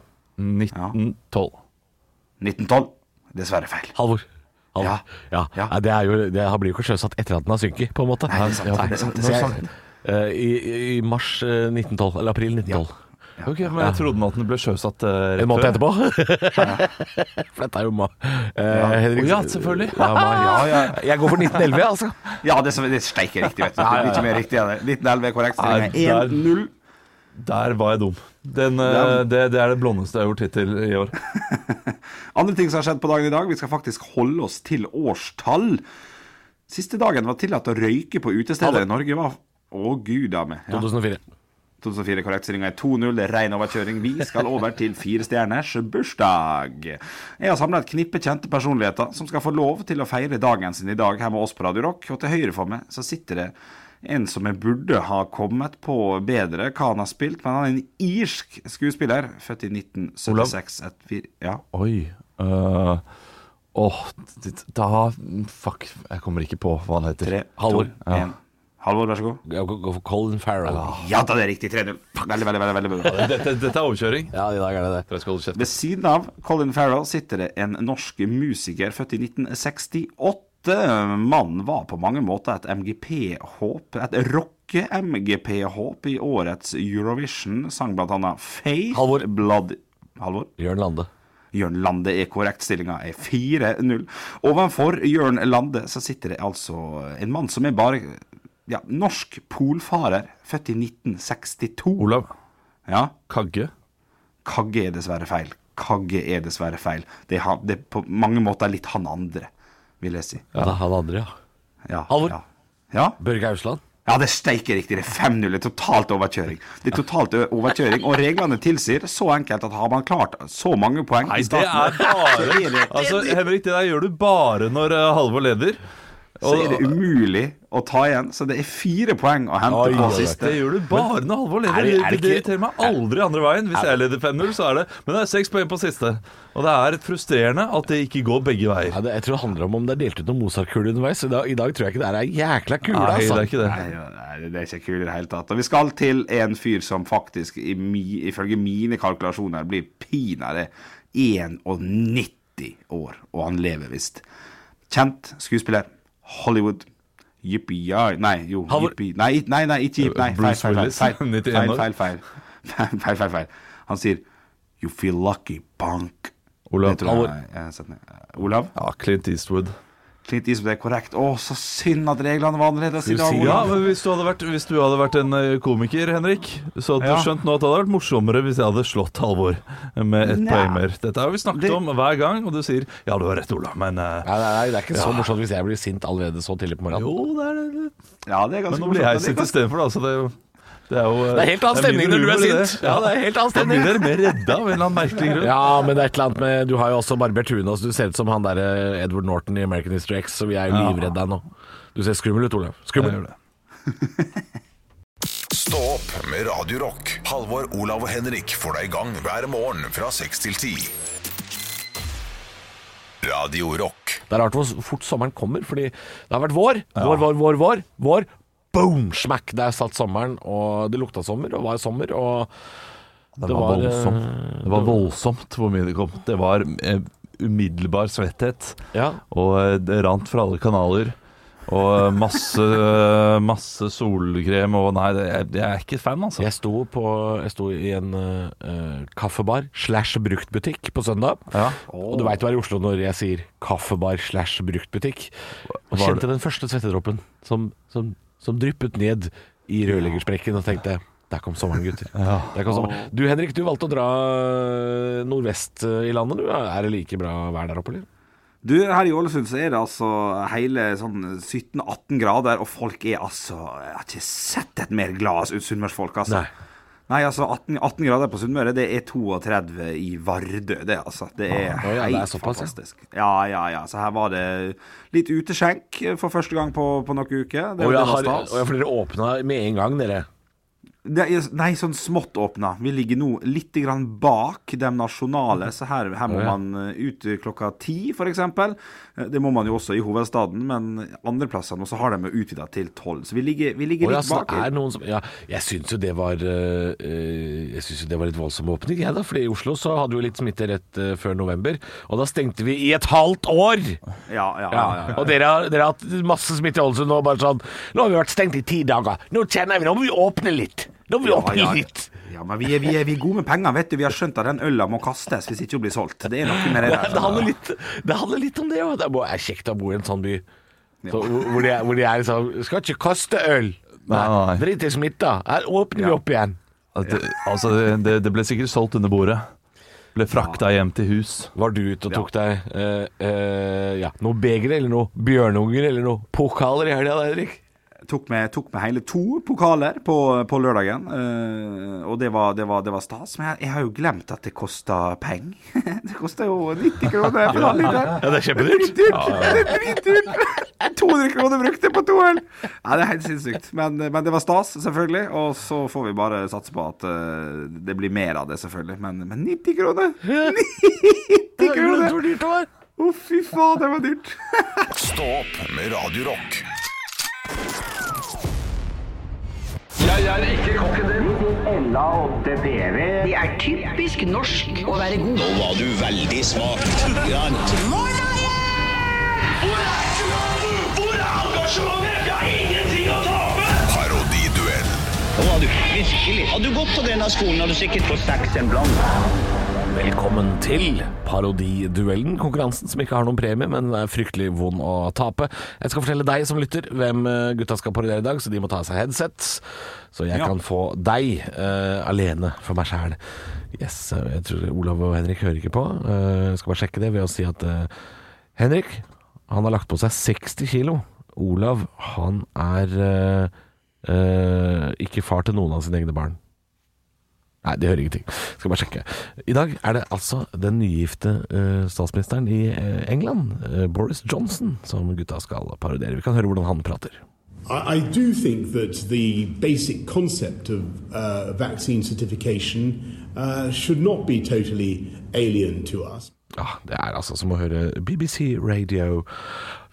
S4: 1912.
S6: 1912. Dessverre feil.
S3: Halvor. Halvor.
S6: Ja.
S3: Ja.
S6: Ja.
S3: Nei, det, er jo, det har- blir jo ikke sjøsatt etter at den har synket, på en måte.
S6: Nei, det er sant, det er sant, det er
S3: Så jeg-
S6: sant.
S3: eh, I, I mars eh, 1912, eller april 1912.
S4: Ok, men jeg trodde at den ble sjøsatt eh,
S3: En
S4: rett
S3: måned
S4: før.
S3: etterpå. For dette er jo ma... Eh, Henrik-
S4: Å ja, selvfølgelig.
S3: Ja, mai.
S6: Ja, ja.
S3: Jeg går for 1911, altså.
S6: Ja, det, er så- det er steiker riktig, vet du. Det blir ikke mer riktig enn det. 1911 er korrekt. stillingen
S4: Nei,
S6: er
S4: der-
S6: 1-0.
S4: Der var jeg dum. Den, eh,
S6: Ja.
S4: det, det er det blondeste jeg har gjort hittil i år.
S6: Andre ting som har skjedd på dagen i dag, vi skal faktisk holde oss til årstall. Siste dagen var tillatt å røyke på utesteder i Norge. var... Å, gud a meg. Ja.
S3: 2004.
S6: 2004 korrekt stillinga er 2-0. Det er Rein overkjøring. Vi skal over til fire stjerners bursdag. Jeg har samla et knippe kjente personligheter som skal få lov til å feire dagen sin i dag her med oss på Radio Rock. Og til høyre for meg så sitter det en som jeg burde ha kommet på bedre hva han har spilt, men han er en irsk skuespiller, født i 1976. Et fir- Ja.
S4: Oi. øh, Åh, da Fuck, jeg kommer ikke på hva han heter.
S6: Tre,
S3: Halvor.
S6: to, en. Halvor, vær så god.
S3: Jeg går går for Colin Farrell.
S6: Ja da, det er riktig. 3-0. Veldig, veldig, veldig, veldig bra.
S4: Dette, dette er overkjøring.
S3: Ja, i dag er det det.
S4: Jeg skal holde kjeft.
S6: Ved siden av Colin Farrell sitter det en norsk musiker født i 1968. Mannen var på mange måter et MGP-håp, et rocke-MGP-håp i årets Eurovision. Sang blant annet Faith
S3: Halvor.
S6: Blood Halvor?
S3: Jørn Lande.
S6: Jørn Lande er korrekt. Stillinga er 4-0. Ovenfor Jørn Lande så sitter det altså en mann som er bare ja, norsk polfarer, født i 1962.
S4: Olav
S6: Ja.
S4: Kagge.
S6: Kagge er dessverre feil. Kagge er dessverre feil. Det er, han, det er på mange måter litt han andre, vil jeg si.
S3: Ja. Det er han andre, ja.
S6: Ja,
S3: Halvor?
S6: Ja. ja.
S3: Børge Ausland.
S6: Ja, det steiker riktig. Det er 5-0. Det er totalt overkjøring. Det er totalt ø- overkjøring, og reglene tilsier så enkelt at har man klart så mange poeng
S4: Nei,
S6: i
S4: det
S6: starten,
S4: er bare
S6: så er det,
S4: Altså, Henrik, det der gjør du bare når eh, Halvor leder.
S6: så er det umulig å ta igjen. Så det er fire poeng å hente
S3: Oi,
S6: på
S3: oi, oi.
S6: siste.
S4: Det gjør du bare når Halvor leder.
S3: er det- er
S4: det,
S3: det
S4: det
S3: ikke-
S4: irriterer meg aldri andre veien. Hvis jeg leder 5-0, så er det Men det er seks poeng på siste. Og det er frustrerende at det ikke går begge veier.
S3: Ja, det, jeg tror det handler om om det er delt ut noen Mozart-kuler underveis. I dag, I dag tror jeg ikke det er ei jækla kule,
S4: Nei, det
S3: altså.
S4: er ikke det.
S6: Nei, nei, det er ikke kult i det hele tatt. Og vi skal til en fyr som faktisk, i mi, ifølge mine kalkulasjoner, blir pinadø 91 år, og han lever visst. Kjent skuespiller. Hollywood. Jippi, ja Nei, jo.
S3: Halvor-
S6: Jippi. Nei, it- nei, nei, ikke jippi. Nei, feil,
S4: Bruce
S6: feil, feil.
S4: Willis,
S6: Feil,
S4: 91
S6: feil,
S4: år.
S6: feil, feil. Feil, feil, feil, feil. Han sier You feel lucky, punk.
S4: Olav.
S6: Det tror jeg, jeg har sett ned. Olav?
S4: Ja, Clint Eastwood.
S6: Clint Eastwood er korrekt. Å, så synd at reglene var annerledes i dag,
S4: Ja,
S6: Olav.
S4: men hvis du hadde vært, hvis du hadde vært en eh, komiker, Henrik, så hadde
S6: Ja.
S4: du skjønt nå at det hadde vært morsommere hvis jeg hadde slått Halvor med ett
S6: Nei.
S4: poeng mer. Dette har vi snakket
S6: Det-
S4: om hver gang, og du sier ja, du har rett, Ola, men eh,
S3: Nei, nei, nei, det er ikke så morsomt hvis jeg blir sint allerede så tidlig på morgenen.
S4: Jo, det er det.
S6: Ja, det er ganske
S4: Men nå blir
S6: morsomt,
S4: jeg
S6: men det er
S4: sint istedenfor, da, så det er jo det er jo eh,
S3: Det er helt annen
S4: det
S3: stemning
S4: mindre
S3: når du er
S4: humor i det.
S3: sint. Ja, det er helt annen
S4: Da blir
S3: stemning.
S4: dere mer redda av en eller annen merkelig grunn.
S3: Ja, men det er et eller annet med Du har jo også barbert huet nå, så du ser ut som han derre Edward Norton i American History X, så vi er jo livredde deg nå. Du ser skummel ut, Olav.
S4: Jeg
S3: Skummel.
S4: gjør det.
S1: Stå opp med Radio Rock. Halvor, Olav og Henrik får deg i gang hver morgen fra 6 til 10. Radio Rock.
S3: Det er rart hvor fort sommeren kommer, fordi det har vært vår. Vår, vår, vår, vår. vår. Boom, smack! Der satt sommeren, og det lukta sommer, og var sommer, og
S4: Det,
S3: Det
S4: var
S3: var, eh,
S4: voldsomt. Det var voldsomt hvor mye det kom. Det var eh, umiddelbar svetthet,
S3: Ja.
S4: og eh, det rant fra alle kanaler. Og eh, masse, eh, masse solkrem og Nei, det, jeg, jeg er ikke fan, altså.
S3: Jeg sto, på, jeg sto i en eh, kaffebar slash bruktbutikk på søndag.
S4: Ja.
S3: Og du veit du er i Oslo når jeg sier kaffebar slash bruktbutikk. Og
S4: Var
S3: kjente den første svettedråpen som, som, som dryppet ned i rørleggersprekken og tenkte der kom sommeren, gutter. Der kom sommeren. Du eh, Henrik, du valgte å dra nordvest eh, i landet. Du er det like bra vær der oppe, eller?
S6: Du, her i Ålesund så er det altså hele sånn 17-18 grader, og folk er altså Jeg har ikke sett et mer glad sunnmørsfolk, altså.
S3: Nei.
S6: Nei, altså 18, 18 grader på Sunnmøre, det er 32 i Vardø, det, altså. Det
S3: Å
S6: er
S3: ja, det er
S6: helt
S3: såpass, ja.
S6: fantastisk. Ja, ja, ja. Så her var det litt uteskjenk for første gang på, på noen uker. Det,
S3: Og jeg
S6: det var
S3: har,
S6: stas.
S3: og jeg, for dere åpna med en gang, dere.
S6: Det er, nei, sånn smått åpna. Vi ligger nå litt grann bak de nasjonale, så her, her må
S3: ja.
S6: man eh, ut klokka ti, f.eks. Det må man jo også i hovedstaden, men andre plasser nå så har de jo utvida til tolv. Så vi ligger, vi
S3: Og
S6: ligger
S3: ja,
S6: litt
S3: så
S6: bak.
S3: det er noen som, ja, jeg syns jo det var eh, eh, Jeg synes jo det var litt voldsom åpning, jeg da. For i Oslo så hadde vi litt smitte rett eh, før november. Og da stengte vi i et halvt år!
S6: Ja, ja, ja,
S3: Ja,
S6: ja, ja.
S3: Og dere har, dere har hatt masse smitte i Ålesund og bare sånn Nå har vi vært stengt i ti dager. Nå kjenner vi Nå må vi åpne litt. Nå må vi åpne
S6: ja, ja.
S3: litt.
S6: ja, men vi er, vi, er, vi er gode med penger, vet du. Vi har skjønt at den øla må kastes hvis ikke hun blir solgt. Det er sånn, noe med det der.
S3: Det handler litt, det handler litt om det òg. Det er bare- er kjekt å bo i en sånn by. Så, hvor- hvor, de er, hvor de er liksom Skal ikke kaste øl.
S4: Nei, nei, nei.
S3: Drit i smitta. Her åpner vi
S6: Ja.
S3: opp igjen.
S4: At Det, altså, det- det, det ble sikkert solgt under bordet. Ble frakta hjem til hus.
S3: Var du ute og tok deg eh, eh, ja, noe begre eller noe bjørnunger eller noe pokaler i helga, da, Henrik?
S6: tok med, tok med hele to pokaler på, på lørdagen, eh, og det var, det, var, det var stas. Men jeg, jeg har jo glemt at det kosta penger. det kosta jo 90 kroner for alle der.
S3: Ja, det er kjempedyrt.
S6: Det er dritdyrt! 200 kroner brukte på to øl! Ja, det er helt sinnssykt. Men, men det var stas, selvfølgelig. Og så får vi bare satse på at eh, det blir mer av det, selvfølgelig. Men, men 90 kroner! 90 kroner!
S3: Hvor dyrt det var.
S6: Å, fy faen, det var dyrt.
S1: Stå opp med Radio Rock. Parodiduell.
S3: Velkommen til Parodiduellen, konkurransen som ikke har noen premie, men er fryktelig vond å tape. Jeg skal fortelle deg som lytter hvem eh, gutta skal parodiere i dag, så de må ta av seg headsets. Så jeg kan få deg eh, alene for meg sjæl. Yes, eh, jeg tror Olav og Henrik hører ikke på. Eh, jeg skal bare sjekke det ved å si at eh, Henrik, han har lagt på seg 60 kilo. Olav, han er eh, eh, ikke far til noen av sine egne barn. Nei, de hører ingenting. Skal bare sjekke. I dag er det altså den nygifte eh, statsministeren i eh, England, eh, Boris Johnson, som gutta skal parodiere. Vi kan høre hvordan han prater.
S9: I, I do think that the basic concept of uh, vaccine certification uh, should not be totally alien to us.
S3: Ja, Det er altså som å høre BBC Radio.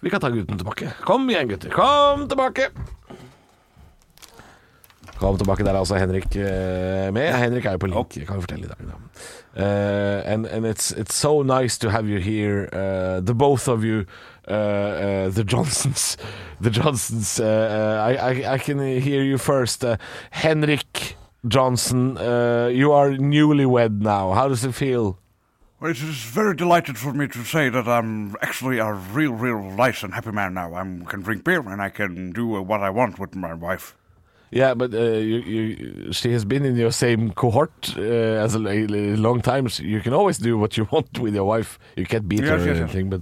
S3: Vi kan ta gutten tilbake. Kom igjen, gutter. Kom tilbake! Kom tilbake, der er altså Henrik eh, med. Henrik er jo på link, kan vi fortelle i dag. Da. Eh, and and it's, it's so nice to have you here, eh, the both of you, eh, eh, the Johnsons. The Johnsons. eh, eh, I, I, I can hear you first. eh, Henrik Johnson, eh, you are newlywed now. How does it feel?
S10: Well, it is very delighted for me to say that I'm actually a real, real nice and happy man now. I can drink beer and I can do uh, what I want with my wife.
S3: Yeah, but uh, you, you, she has been in your same cohort uh, as a, l- a long time. So You can always do what you want with your wife. You can't beat
S10: Yes,
S3: her or
S10: yes, yes.
S3: anything. But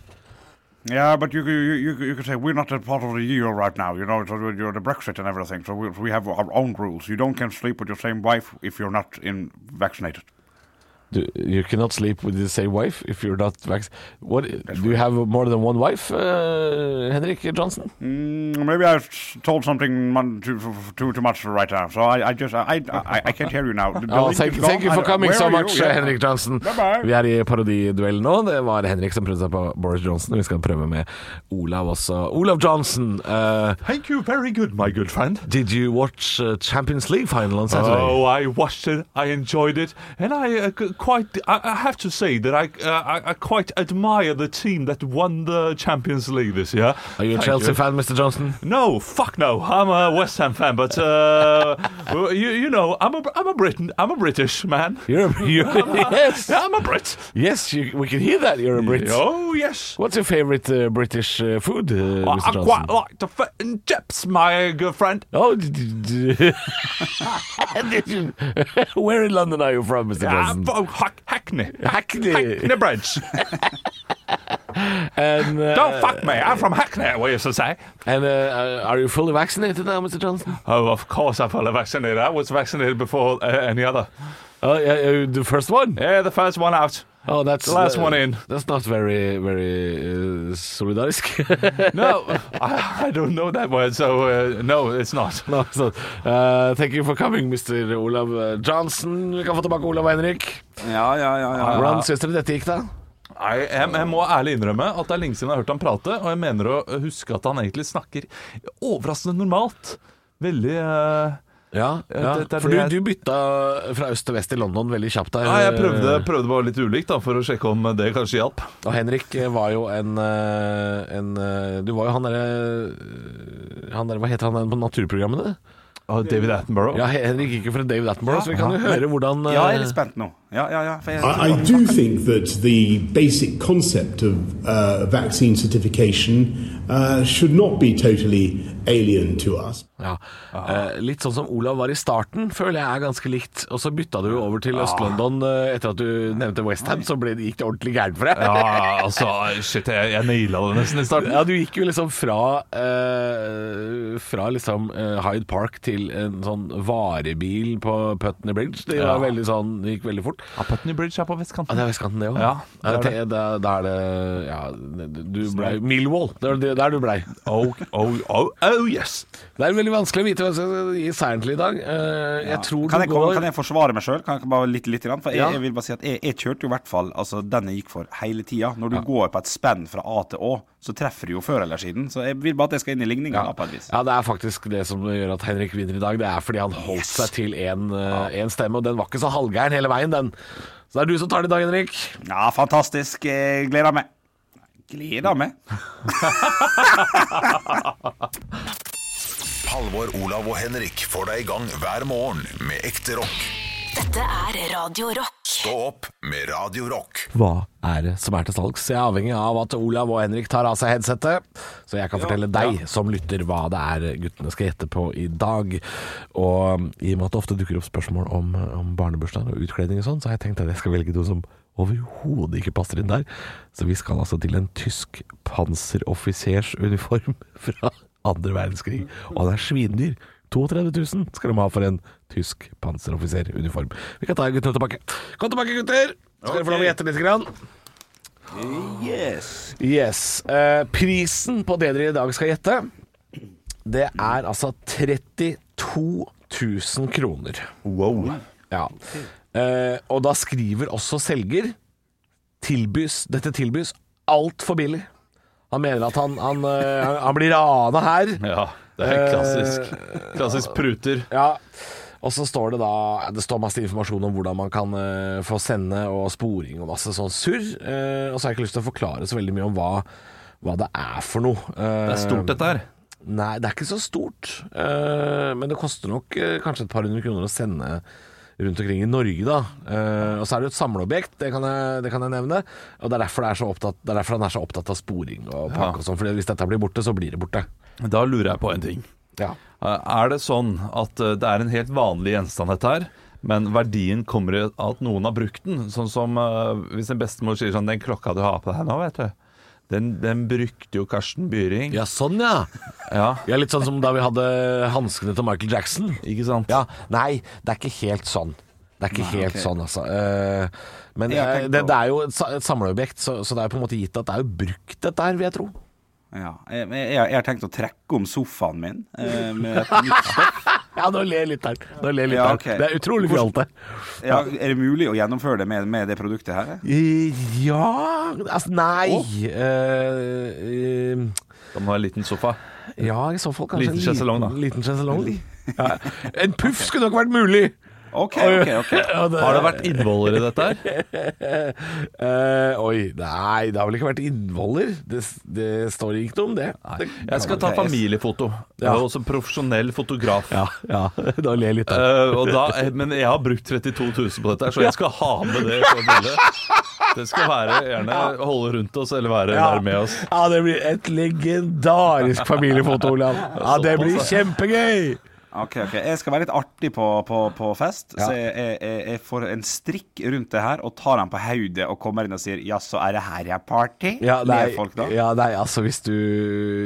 S10: Yeah, but you you you, you could say we're not a part of the EU right now. You know, so you're the Brexit and everything. So we, we have our own rules. You don't can sleep with your same wife if you're not in vaccinated.
S3: do, you cannot sleep with the same wife if you're not vaccinated. What do you have more than one wife, uh, Henrik Johnson?
S10: Mm, maybe I've s- told something mon- too too, too much right now. So I, I just I, I I- I can't hear you now. The- the
S3: Oh,
S10: link
S3: thank,
S10: is gone.
S3: thank you
S10: I
S3: for
S10: don't-
S3: coming
S10: where
S3: so
S10: are you?
S3: much,
S10: Yeah.
S3: uh, Henrik Johnsen.
S10: Bye-bye.
S3: Vi er i parodiduellen nå. Det var Henrik som prøvde seg på Boris Johnson. og Vi skal prøve med Olav også. Olav Johnson, uh,
S4: Thank you very good, my good friend.
S3: did you watch uh, Champions League final on Saturday?
S4: Oh, I watched it. I enjoyed it, and I uh, c- quite. I, I have to say that I, uh, I I quite admire the team that won the Champions League this year.
S3: Are you a
S4: Thank
S3: Chelsea fan, Mr. Johnson?
S4: No, fuck no. I'm a West Ham fan, but uh, well, you you know I'm a I'm a Briton. I'm a British man.
S3: You're, you're yes,
S4: Yeah, I'm a Brit.
S3: yes. You, we can hear that you're a Brit.
S4: Oh yes.
S3: What's your favorite uh, British uh, food, uh,
S4: I,
S3: Mr.
S4: I
S3: Johnson?
S4: quite like the fit and chips, my good friend.
S3: oh, d- d- d- Did you- where in London
S4: Ah,
S3: are you from, Mr.
S4: Yeah,
S3: Johnson?
S4: oh, Hack- Hackney.
S3: Hackney.
S4: Hackney Bridge.
S3: And, uh,
S4: Don't fuck me, I'm from Hackney, we used to say.
S3: And uh, are you fully vaccinated now, Mr. Johnson?
S4: Oh, of course I'm fully vaccinated. I was vaccinated before uh, any other.
S3: Oh, yeah, yeah, the first one.
S4: Yeah, the first one out.
S3: Oh, that's
S4: The last one in.
S3: That's not very, very uh, solidarisk.
S4: No, I, I don't know that word, so uh, no, it's not.
S3: no, so, uh, thank you for coming, Mr. Olav uh, Johnson. Vi kan få tilbake Olav Henrik.
S6: Ja, ja, ja. ja.
S3: Hvordan syns dere dette gikk, da?
S4: Nei, jeg, jeg må ærlig innrømme at det er lenge siden jeg har hørt han prate, og jeg mener å huske at han egentlig snakker overraskende normalt. Veldig eh,
S3: Ja, ja.
S4: det- det er
S3: for du,
S4: det
S3: du
S4: jeg-
S3: bytta fra øst til vest i London veldig kjapt der. Eh,
S4: Nei, jeg prøvde, prøvde bare litt ulikt da, for å sjekke om det kanskje hjalp.
S3: Og Henrik var jo en, eh, en eh, Du var jo han derre Han der, Hva heter han der på naturprogrammene?
S4: Ah, David Attenborough.
S3: Ja, Henrik gikk jo for David Attenborough, så vi kan jo høre hvordan eh,
S6: ja jeg er litt spent nå. Ja, ja, ja. for jeg-
S9: I, I do think that the basic concept of uh, vaccine certification uh, should not be totally alien to us.
S3: ja. Eh, Litt sånn som Olav var i starten, føler jeg er ganske likt. Og så bytta du jo over til Øst-London eh, etter at du nevnte Westham, så ble, gikk det ordentlig gærent for deg.
S4: Ja, altså, shit, jeg, jeg naila det nesten i starten.
S3: Ja, du gikk jo liksom fra eh, Fra liksom eh, Hyde Park til en sånn varebil på Putney Bridge. Det var
S4: Ja.
S3: veldig sånn, det gikk veldig fort.
S4: Ja, Ah, Putney Bridge er på
S3: Ja, det
S4: vestkanten.
S3: er vestkanten, det òg.
S4: Ja,
S3: da,
S4: det er
S3: da, da er det Ja, du blei Millwall. Det var det- der du blei.
S4: Oh, oh, oh, oh yes!
S3: Det er veldig vanskelig å vite hvem som skal gi seieren til i dag. Eh, jeg tror
S6: Kan
S3: du
S6: jeg,
S3: går
S6: komme, kan jeg forsvare meg sjøl? Bare litt, litt grann? For jeg,
S3: Ja.
S6: jeg vil bare si at jeg, jeg kjørte jo i hvert fall altså, den jeg gikk for hele tida. Når du går på et spenn fra A til Å, så treffer du jo før eller siden. Så jeg vil bare at jeg skal inn i ligninga. da, på et vis.
S3: ja, det er faktisk det som gjør at Henrik vinner i dag. Det er fordi han holdt seg til én stemme, og den var ikke så halvgæren hele veien, den. Så det er du som tar det i dag, Henrik.
S6: Ja, fantastisk. Jeg gleder meg. Gleder meg?
S1: Halvor, Olav og Henrik får deg i gang hver morgen med ekte rock.
S2: Dette er Radio Rock.
S1: Stå opp med Radio Rock.
S3: Hva er det som er til salgs? Jeg er avhengig av at Olav og Henrik tar av seg headsetet, så jeg kan fortelle deg som lytter hva det er guttene skal gjette på i dag. Og i og med at det ofte dukker opp spørsmål om, om barnebursdager og utkledning og sånn, så har jeg tenkt at jeg skal velge noe som overhodet ikke passer inn der. Så vi skal altså til en tysk panseroffisersuniform fra andre verdenskrig. Og han er svindyr. 32 000 skal de ha for en tysk panseroffiseruniform. Vi kan ta guttene tilbake. Kom tilbake, gutter! Skal dere få lov å gjette litt? Grann. Yes. Eh, prisen på det dere i dag skal gjette, det er altså 32 000 kroner.
S4: Wow.
S3: Ja. Eh, og da skriver også selger tilbys, Dette tilbys altfor billig. Han mener at han, han, eh, han blir rana her.
S4: Ja, det er klassisk.
S3: Eh,
S4: Klassisk pruter.
S3: Ja. Og så står det da Det står masse informasjon om hvordan man kan eh, få sende og sporing og masse sånn surr. Eh, og så har jeg ikke lyst til å forklare så veldig mye om hva, hva det er for noe. Eh,
S4: Det er stort, dette her.
S3: Nei, det er ikke så stort. Eh, men det koster nok eh, kanskje et par hundre kroner å sende rundt omkring i Norge, da. Eh, og så er det jo et samleobjekt, det kan jeg, det kan jeg nevne. Og det er, derfor det, er så opptatt, det er derfor han er så opptatt av sporing og pakke og sånn. For hvis dette blir borte, så blir det borte.
S4: Ehm, Da lurer jeg på en ting.
S3: Ja.
S4: Eh, Er det sånn at eh, det er en helt vanlig gjenstand dette her, men verdien kommer i at noen har brukt den? Sånn som eh, hvis en bestemor sier sånn Den klokka du har på deg nå, vet du, den, den brukte jo Karsten Byring.
S3: ja, sånn ja.
S4: Ja,
S3: ja! Litt sånn som da vi hadde hanskene til Michael Jackson.
S4: ikke sant?
S3: Ja, nei, det er ikke helt sånn. Det er ikke helt sånn, altså. Eh, men
S6: Jeg har
S3: eh,
S6: tenkt
S3: det,
S6: på-
S3: det er jo et, sa- et samleobjekt, så, så det er jo på en måte gitt at det er jo brukt, dette her, vil jeg tro.
S6: Ja. Jeg, jeg, jeg har tenkt å trekke om sofaen min. Eh, med et nytt stoff.
S3: Ja, nå ler jeg litt her. Nå ler jeg litt
S6: Ja,
S3: her.
S6: ok.
S3: Det er utrolig
S6: Hvordan-
S3: fjolte.
S6: ja, er det mulig å gjennomføre det med, med det produktet her?
S3: Eh, Ja Altså, nei Eh, eh,
S4: Da må det være en liten sofa.
S3: Ja, i så fall kanskje
S4: Liten sjeselong, da.
S3: En liten sjeselong. Ja. En puff skulle nok vært mulig!
S6: OK, OK. ok
S3: Ja, det-
S4: Har det vært innvoller i dette her?
S3: Eh, Oi, nei, det har vel ikke vært innvoller? Det, det står ikke noe om det. det
S4: Jeg skal ta familiefoto. Jeg er også profesjonell fotograf.
S3: Ja, ja. Da ler jeg litt. her.
S4: Eh, og da, eh, men jeg har brukt 32 000 på dette, her, så jeg skal ha med det på bildet. Det skal være gjerne holde rundt oss eller være der Eh, med oss.
S3: Ja, det blir et legendarisk familiefoto, Olav. Ja, det blir kjempegøy!
S6: Ja,
S5: Ok, ok, Jeg skal være litt artig på, på, på fest, så jeg, jeg, jeg- jeg får en strikk rundt det her og tar den på hodet og kommer inn og sier 'jaså, er det her jeg er party'?
S3: Ja,
S5: Ler
S3: nei,
S5: folk da?
S3: ja, nei, altså hvis du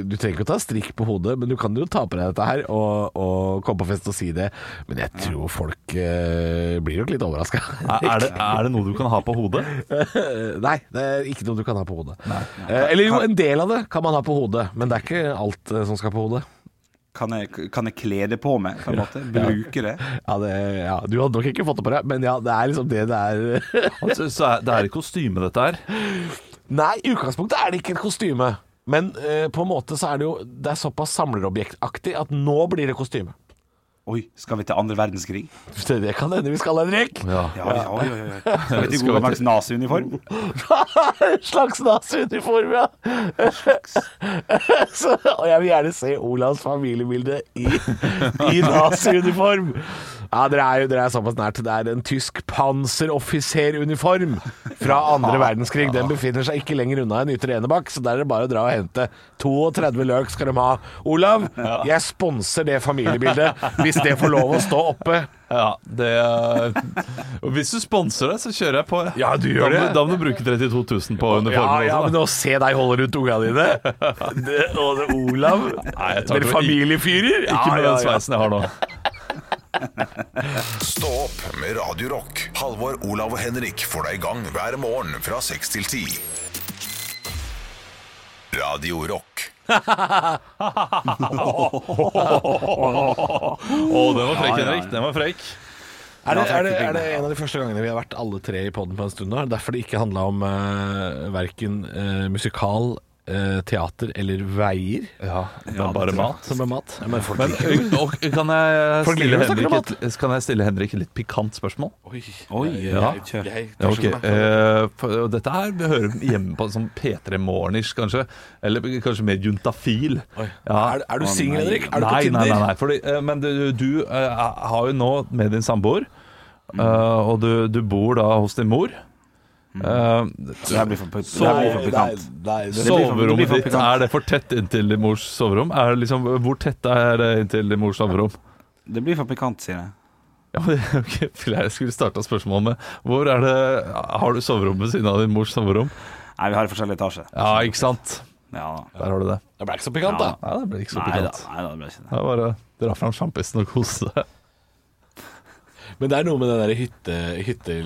S3: Du trenger ikke å ta strikk på hodet, men du kan jo ta på deg dette her og, og komme på fest og si det. Men jeg tror folk eh, blir nok litt overraska.
S4: Er, er, det, er det noe du kan ha på hodet?
S3: Eh, nei, det er ikke noe du kan ha på hodet. Eh, eller jo, en del av det kan man ha på hodet, men det er ikke alt eh, som skal på hodet.
S5: Kan jeg, kan jeg kle det på meg, på en måte? Bruke det?
S3: Ja, det, ja, Du hadde nok ikke fått det på deg, men ja, det er liksom det det er.
S4: Altså, så er, det er et kostyme, dette her.
S3: Nei, i utgangspunktet er det ikke et kostyme. Men eh, på en måte så er det jo Det er såpass samlerobjektaktig at nå blir det kostyme.
S5: Oi, skal vi til andre verdenskrig?
S3: Det kan hende vi skal, Henrik.
S5: Ja, ja, ja, ja, ja. Skal vi til Godmarks naziuniform?
S3: slags naziuniform, ja. Så, og jeg vil gjerne se Olavs familiebilde i, i naziuniform. Ja, dere er jo dere er såpass nært. Det er en tysk panseroffiseruniform fra andre verdenskrig. Den befinner seg ikke lenger unna enn Ytre Enebakk, så der er det bare å dra og hente. 32 løk skal de ha. Olav, jeg sponser det familiebildet, hvis det får lov å stå oppe.
S4: Ja, det og Hvis du sponser det, så kjører jeg på.
S3: Ja, du gjør
S4: da, må-
S3: det.
S4: Da må du bruke 32 000 på
S3: Ja,
S4: uniformen.
S3: ja,
S4: også,
S3: men
S4: da.
S3: å se deg holde rundt unga dine det, Og det, Olav
S4: Nei, jeg tar
S3: Dere
S4: det-
S3: familiefyrer
S4: Ikke med
S3: ja,
S4: den
S3: ja,
S4: sveisen jeg har nå.
S1: Stå opp med Radio Rock. Halvor, Olav og Henrik får deg i gang hver morgen fra 6 til 10. Radio Rock.
S4: Å, den var frekk, Henrik. Den var frekk.
S3: Er, det, er, det, er det en av de første gangene vi har vært alle tre i podden på en stund nå? Er det Derfor det ikke handlet om uh, Hverken eh, musikal eh, Teater eller veier
S4: Ja, det er bare mat.
S3: Som er mat Ja, Men folk
S4: Men
S3: liker jo
S4: og, kan, jeg
S3: Folk
S4: stille
S3: liker å snakke om
S4: Henrik et, kan jeg stille Henrik et litt pikant spørsmål?
S5: Oi, ja. kjør.
S4: Ja, ok. Eh, for, og dette her vi hører hjemme på en sånn P3 Morgen-ish, kanskje. Eller kanskje mer juntafil. Ja.
S3: er, er du single, Henrik? Er du
S4: nei,
S3: på Tinder?
S4: nei, nei, nei. Fordi, eh, men du, du eh, har jo nå med din samboer, eh, og du, du bor da hos din mor. Eh,
S5: Det her blir for put- det
S4: Så-
S5: her blir for
S3: Nei,
S5: pikant.
S3: nei, det-
S5: blir for- det blir
S4: Soverommet
S5: for
S4: ditt,
S5: pikant.
S4: er det for tett inntil din mors soverom? Er det liksom, hvor tett er det inntil din mors soverom?
S5: Det blir for pikant, sier jeg.
S4: Ja, men ok, Fille, Jeg skulle starta spørsmålet med Hvor er det Har du soverom ved siden av din mors soverom?
S5: Nei, vi har i forskjellig etasje.
S4: Ja, ikke sant?
S5: Ja da.
S4: Der har du det.
S3: Det ble ikke så pikant da
S4: Nei, det ble ikke så
S5: Nei da,
S4: pikant.
S5: nei da, det blir ikke det.
S4: Det er bare å dra fram sjampisen og kose deg.
S3: Men det er noe med den der hytte... hytte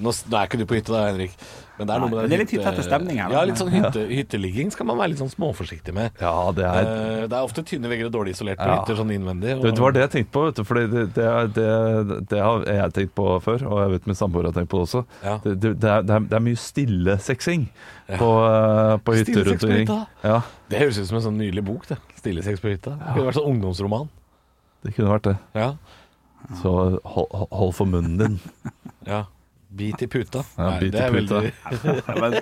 S3: nå, s- nå er ikke du på hytte da, Henrik. Men det er,
S5: Nei,
S3: noe med den
S5: men det er litt hytte etter stemning her, da.
S3: Ja, litt sånn hytte, hytteligging skal man være litt sånn småforsiktig med.
S4: Ja, det er
S3: Eh, det er ofte tynne vegger og dårlig isolert på
S4: Ja.
S3: hytter, sånn innvendig.
S4: Du vet, Det var det jeg tenkte på, vet du. Fordi det, det, er- det, det har jeg tenkt på før, og jeg vet min samboer har tenkt på det også.
S3: Ja.
S4: Det, det, det, er, det er- det er mye stillesexing på, eh, på hytter
S3: Stillesex
S4: rundt
S3: på
S4: omkring.
S3: hytta?
S4: Ja,
S3: Det høres ut som en sånn nydelig bok, det. 'Stillesex på hytta'. Det kunne vært sånn ungdomsroman.
S4: det kunne vært det.
S3: Ja.
S4: Så hold, hold- hold for munnen din.
S3: ja. Bit i puta.
S4: Ja,
S3: Nei,
S4: bit
S3: det
S4: i
S3: er
S4: puta.
S3: veldig-
S5: Men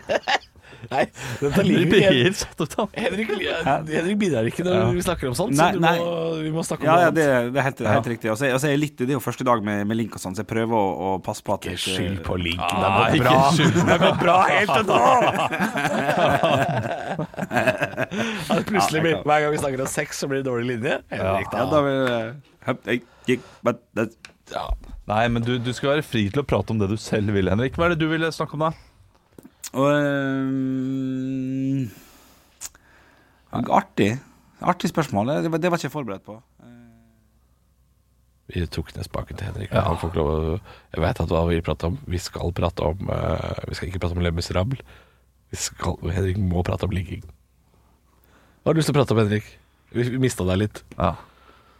S3: Nei, dette
S4: Du
S3: liker vi.
S4: blir
S3: Hen-
S4: helt satt ut av.
S3: Henrik, Henrik bidrar ikke når vi snakker om sånt,
S5: Nei,
S3: så du
S5: nei.
S3: Må, vi må snakke om
S5: Ja, ja
S3: noe
S5: det,
S3: annet.
S5: det er helt, helt riktig. Og så er- og så er jeg litt, det er jo første dag med, med link og sånn, så jeg prøver å, å passe på at jeg ikke-
S3: Skyld på link.
S4: Nei,
S3: det var
S4: ikke
S3: bra.
S4: skyld.
S3: Det har gått bra helt til nå! Ja, det plutselig blir, hver gang vi snakker om sex, så blir det dårlig linje. Henrik,
S5: Ja, da vil jeg Hup, jeg gikk, men det-
S4: Nei, men du, du skal være fri til å prate om det du selv vil, Henrik. Hva er det du ville snakke om, da?
S5: Og ehm, Artig. Artig spørsmål. Det var, det var ikke jeg forberedt på.
S3: Vi tok ned spaken til Henrik. Han får ikke lov å Jeg vet at hva vi prater om. Vi skal prate om eh, Vi skal ikke prate om Le Miserable. Vi skal, Henrik må prate om ligging. Hva har du lyst til å prate om, Henrik? Vi mista deg litt.
S4: Ja.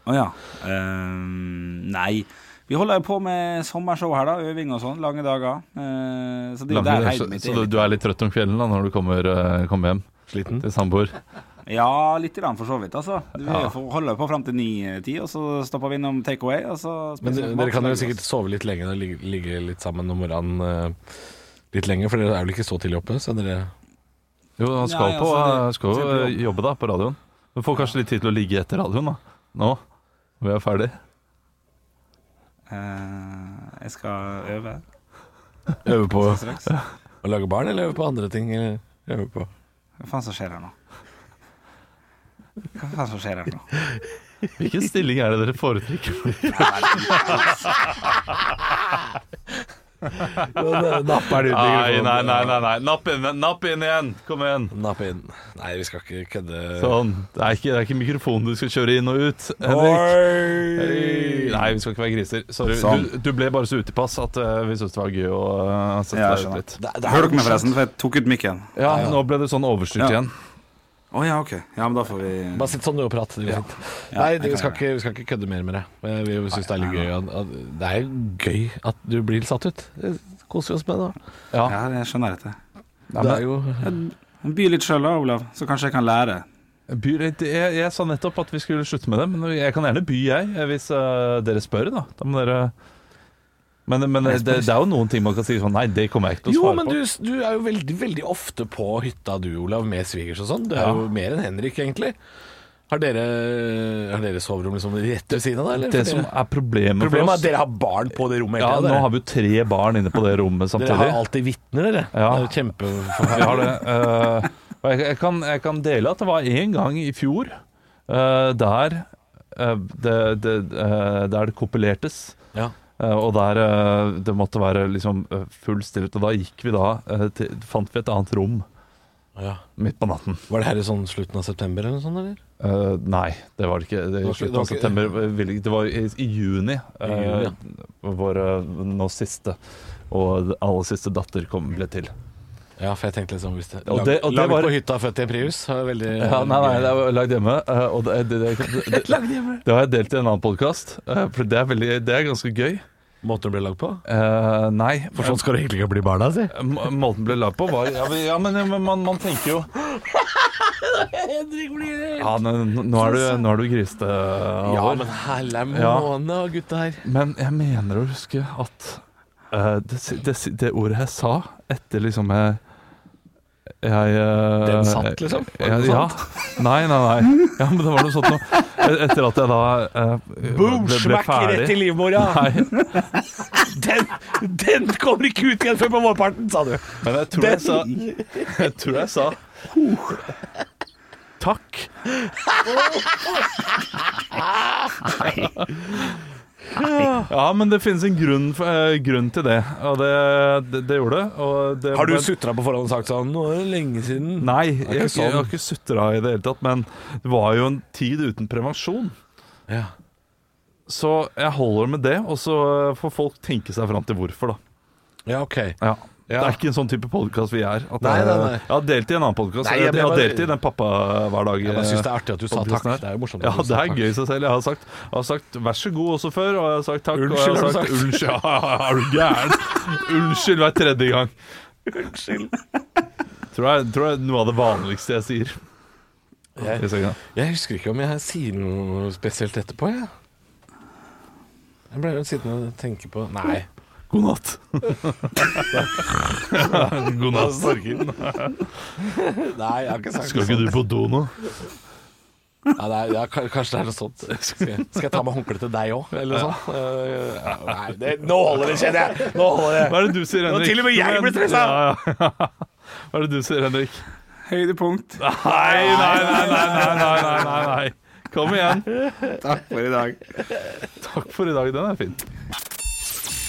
S5: Å ja. Ehm, nei. Vi holder jo på med sommershow her, da. Øving og sånn. Lange dager. Eh, så det er jo der
S4: så
S5: heimen mitt
S4: så du,
S5: er.
S4: du er litt trøtt om kvelden da når du kommer, eh, kommer hjem?
S3: Mm.
S4: Sliten? Til samboer?
S5: Ja, litt grann for så vidt, altså. Vi holder jo på fram til ni-ti, og så stopper vi innom take away. Og så
S3: Men
S5: spiser vi mat,
S3: dere kan jo
S5: lager
S3: sikkert
S5: oss.
S3: sove litt lenger og ligge, ligge litt sammen om morgenen eh, litt lenger, for dere er vel ikke så tidlig oppe? Så dere
S4: Jo, han skal
S5: Nei,
S4: på
S5: altså,
S4: Han
S5: det-
S4: skal jo
S5: det blir
S4: eh, jobbe da på radioen. Du får kanskje litt tid til å ligge etter radioen da nå. Vi er ferdig.
S5: Eh, jeg skal øve.
S3: øver på
S5: straks.
S3: å lage barn, eller øver på andre ting? Eller øver på
S5: Hva faen som skjer her nå? Hva faen som skjer her nå?
S4: Hvilken stilling er det dere foretrekker?
S3: Napper du
S6: sånn?
S4: Nei, nei, nei. nei, nei. Napp, inn, napp inn igjen! Kom igjen.
S3: Napp inn. Nei, vi skal ikke kødde.
S4: Sånn. Det er, ikke, det er ikke mikrofonen du skal kjøre inn og ut. Henrik. Hei.
S3: Oi!
S4: Nei, vi skal ikke være griser. Sorry.
S6: Sånn.
S4: Du, du ble bare så utilpass at eh, vi syntes det var gøy å eh, sette
S6: Ja, jeg
S4: deg
S6: skjønner.
S4: ut litt.
S3: Det- det er
S6: Hører dere meg,
S3: morsomt.
S6: forresten? For jeg tok ut mikken. Å
S4: Ja, nå ble du sånn overstyrt
S6: Ja.
S4: igjen.
S6: ja, OK. Ja, men da får vi
S3: Bare sitt sånn du og prat. Det går fint. Nei,
S6: jeg
S3: vi
S6: kan
S3: skal,
S6: gjøre
S3: ikke, vi skal ikke kødde mer med det. Eh, Vi syns det er litt gøy. at- at- Det er jo gøy at du blir satt ut. Det koser vi oss med da.
S6: Ja, jeg skjønner dette.
S3: Det er jo
S6: By litt sjøl da, Olav, så kanskje jeg kan lære.
S4: By, jeg, jeg sa nettopp at vi skulle slutte med det, men jeg kan gjerne by, jeg, eh, hvis eh, dere spør. Da, da må dere Men, men det, det er jo noen ting man kan si sånn Nei, det kommer jeg ikke til å
S3: Jo,
S4: svare
S3: men
S4: på.
S3: du, du er jo veldig, veldig ofte på hytta du, Olav, med svigers og sånn. Du er jo mer enn Henrik, egentlig. Har dere, har dere soverom liksom rett ved siden av deg? eller?
S4: Det
S3: For
S4: som er problemet,
S3: Problemet er at
S4: for oss
S3: dere har barn på det rommet.
S4: Ja,
S3: hele tiden,
S4: Nå
S3: dere.
S4: har vi jo tre barn inne på det rommet samtidig.
S3: Dere har alltid vitner, dere.
S4: Ja.
S3: Det er jo kjempe...
S4: Vi har det. eh, og jeg, jeg, kan, jeg kan dele at det var én gang i fjor eh, der, eh, det, det, eh, der det kopulertes.
S3: Ja.
S4: eh, og der eh, det måtte være liksom eh, full stillhet. Og da gikk vi da eh, til, Fant vi et annet rom
S3: Ja.
S4: midt på natten.
S3: Var det her i sånn slutten av september eller noe sånt, eller?
S4: Eh, nei, det var det ikke. Det,
S3: var ikke-
S4: slutten
S3: det var
S4: av
S3: ikke-
S4: september ville ikke- Det var i, i juni.
S3: juni, ja.
S4: eh, Vår eh, nå siste og aller siste datter kom, ble til.
S3: Ja, for jeg tenkte liksom hvis det,
S4: Og det- og det
S3: Laget
S4: var-
S3: på hytta født i en Prius. var Veldig,
S4: Ja, nei, nei, det er lagd hjemme. eh, Og det, det, det, det, det, det har jeg delt i en annen podkast, for det er, veldig, det er ganske gøy.
S3: Måten det ble lagd på?
S4: Eh, nei.
S3: For sånn skal det egentlig ikke bli barna si.
S4: Eh, må- Måten ble lagd på var Ja, men, ja, men, ja, men man, man tenker jo ja, men, nå- Nå er du, nå er du grisete,
S3: Ja,
S4: Halvor.
S3: men helle
S4: Ja.
S3: måne og gutta her.
S4: Men jeg mener å huske at eh, det, si- det, si- det ordet jeg sa etter liksom jeg jeg, eh,
S3: Den satt, liksom? Var
S4: Ja,
S3: det
S4: ja.
S3: sant?
S4: Nei, nei, nei. Ja, men det var noe sånt noe. E-, Etter at jeg da eh, ble, ble ferdig
S3: livmora!
S4: Nei,
S3: Den, den kommer ikke ut igjen før på vårparten, sa du.
S4: men jeg tror jeg sa Jeg tror jeg sa Takk. Ja, men det finnes en grunn, for, eh, grunn til det, og det, det, det gjorde det. Og det
S3: Har du
S4: men-
S3: sutra på forhånd og sagt sånn Nå er det lenge siden.
S4: Nei, jeg, har ikke-
S3: sånn.
S4: jeg har ikke sutra i det hele tatt, men det var jo en tid uten prevensjon.
S3: Ja.
S4: Så jeg holder med det, og så får folk tenke seg fram til hvorfor, da.
S3: ja, ok.
S4: Ja.
S3: Ja.
S4: Det er ikke en sånn type podkast vi er. At
S3: Nei,
S4: det-
S3: nei, nei.
S4: Jeg har delt i en annen podkast.
S3: Nei,
S4: Jeg,
S3: jeg
S4: jeg,
S3: ble
S4: har
S3: bare-
S4: delt i den pappa-hverdag.
S3: Jeg bare syns det er artig at du sa takk. Det er jo morsomt. at
S4: Ja,
S3: du
S4: det
S3: sa
S4: er
S3: takk.
S4: gøy i seg selv. Jeg har sagt, jeg har sagt 'vær så god' også før, og jeg har sagt takk.
S3: Unnskyld, har
S4: og jeg har
S3: du
S4: sagt,
S3: sagt.
S4: Unnskyld, er du gæren? Unnskyld hver tredje gang. Unnskyld. Tror jeg, tror jeg er noe av det vanligste jeg sier.
S3: Jeg-
S4: I senga.
S3: Jeg husker ikke om jeg sier noe spesielt etterpå, jeg. Jeg ble jo sittende og tenke på Nei.
S4: God natt. God natt.
S3: Nei, jeg har ikke sagt sånn.
S4: Skal ikke du på do nå?
S3: Ja, det er, ja, ka- kanskje det er noe sånt. Skal jeg, skal jeg ta med håndkle til deg òg, eller noe sånt? Eh, Nei, det, nå holder det, kjenner jeg. Nå holder det.
S4: Hva er det du sier, Henrik?
S3: til og med jeg
S4: Kom igjen.
S3: ble stresset.
S4: Ja, ja. Hva er det du sier, Henrik?
S6: Høydepunkt.
S4: Nei, nei, nei, nei, nei, nei, nei, nei, nei. Kom igjen.
S6: Takk for i dag.
S4: Takk for i dag. Den er fin.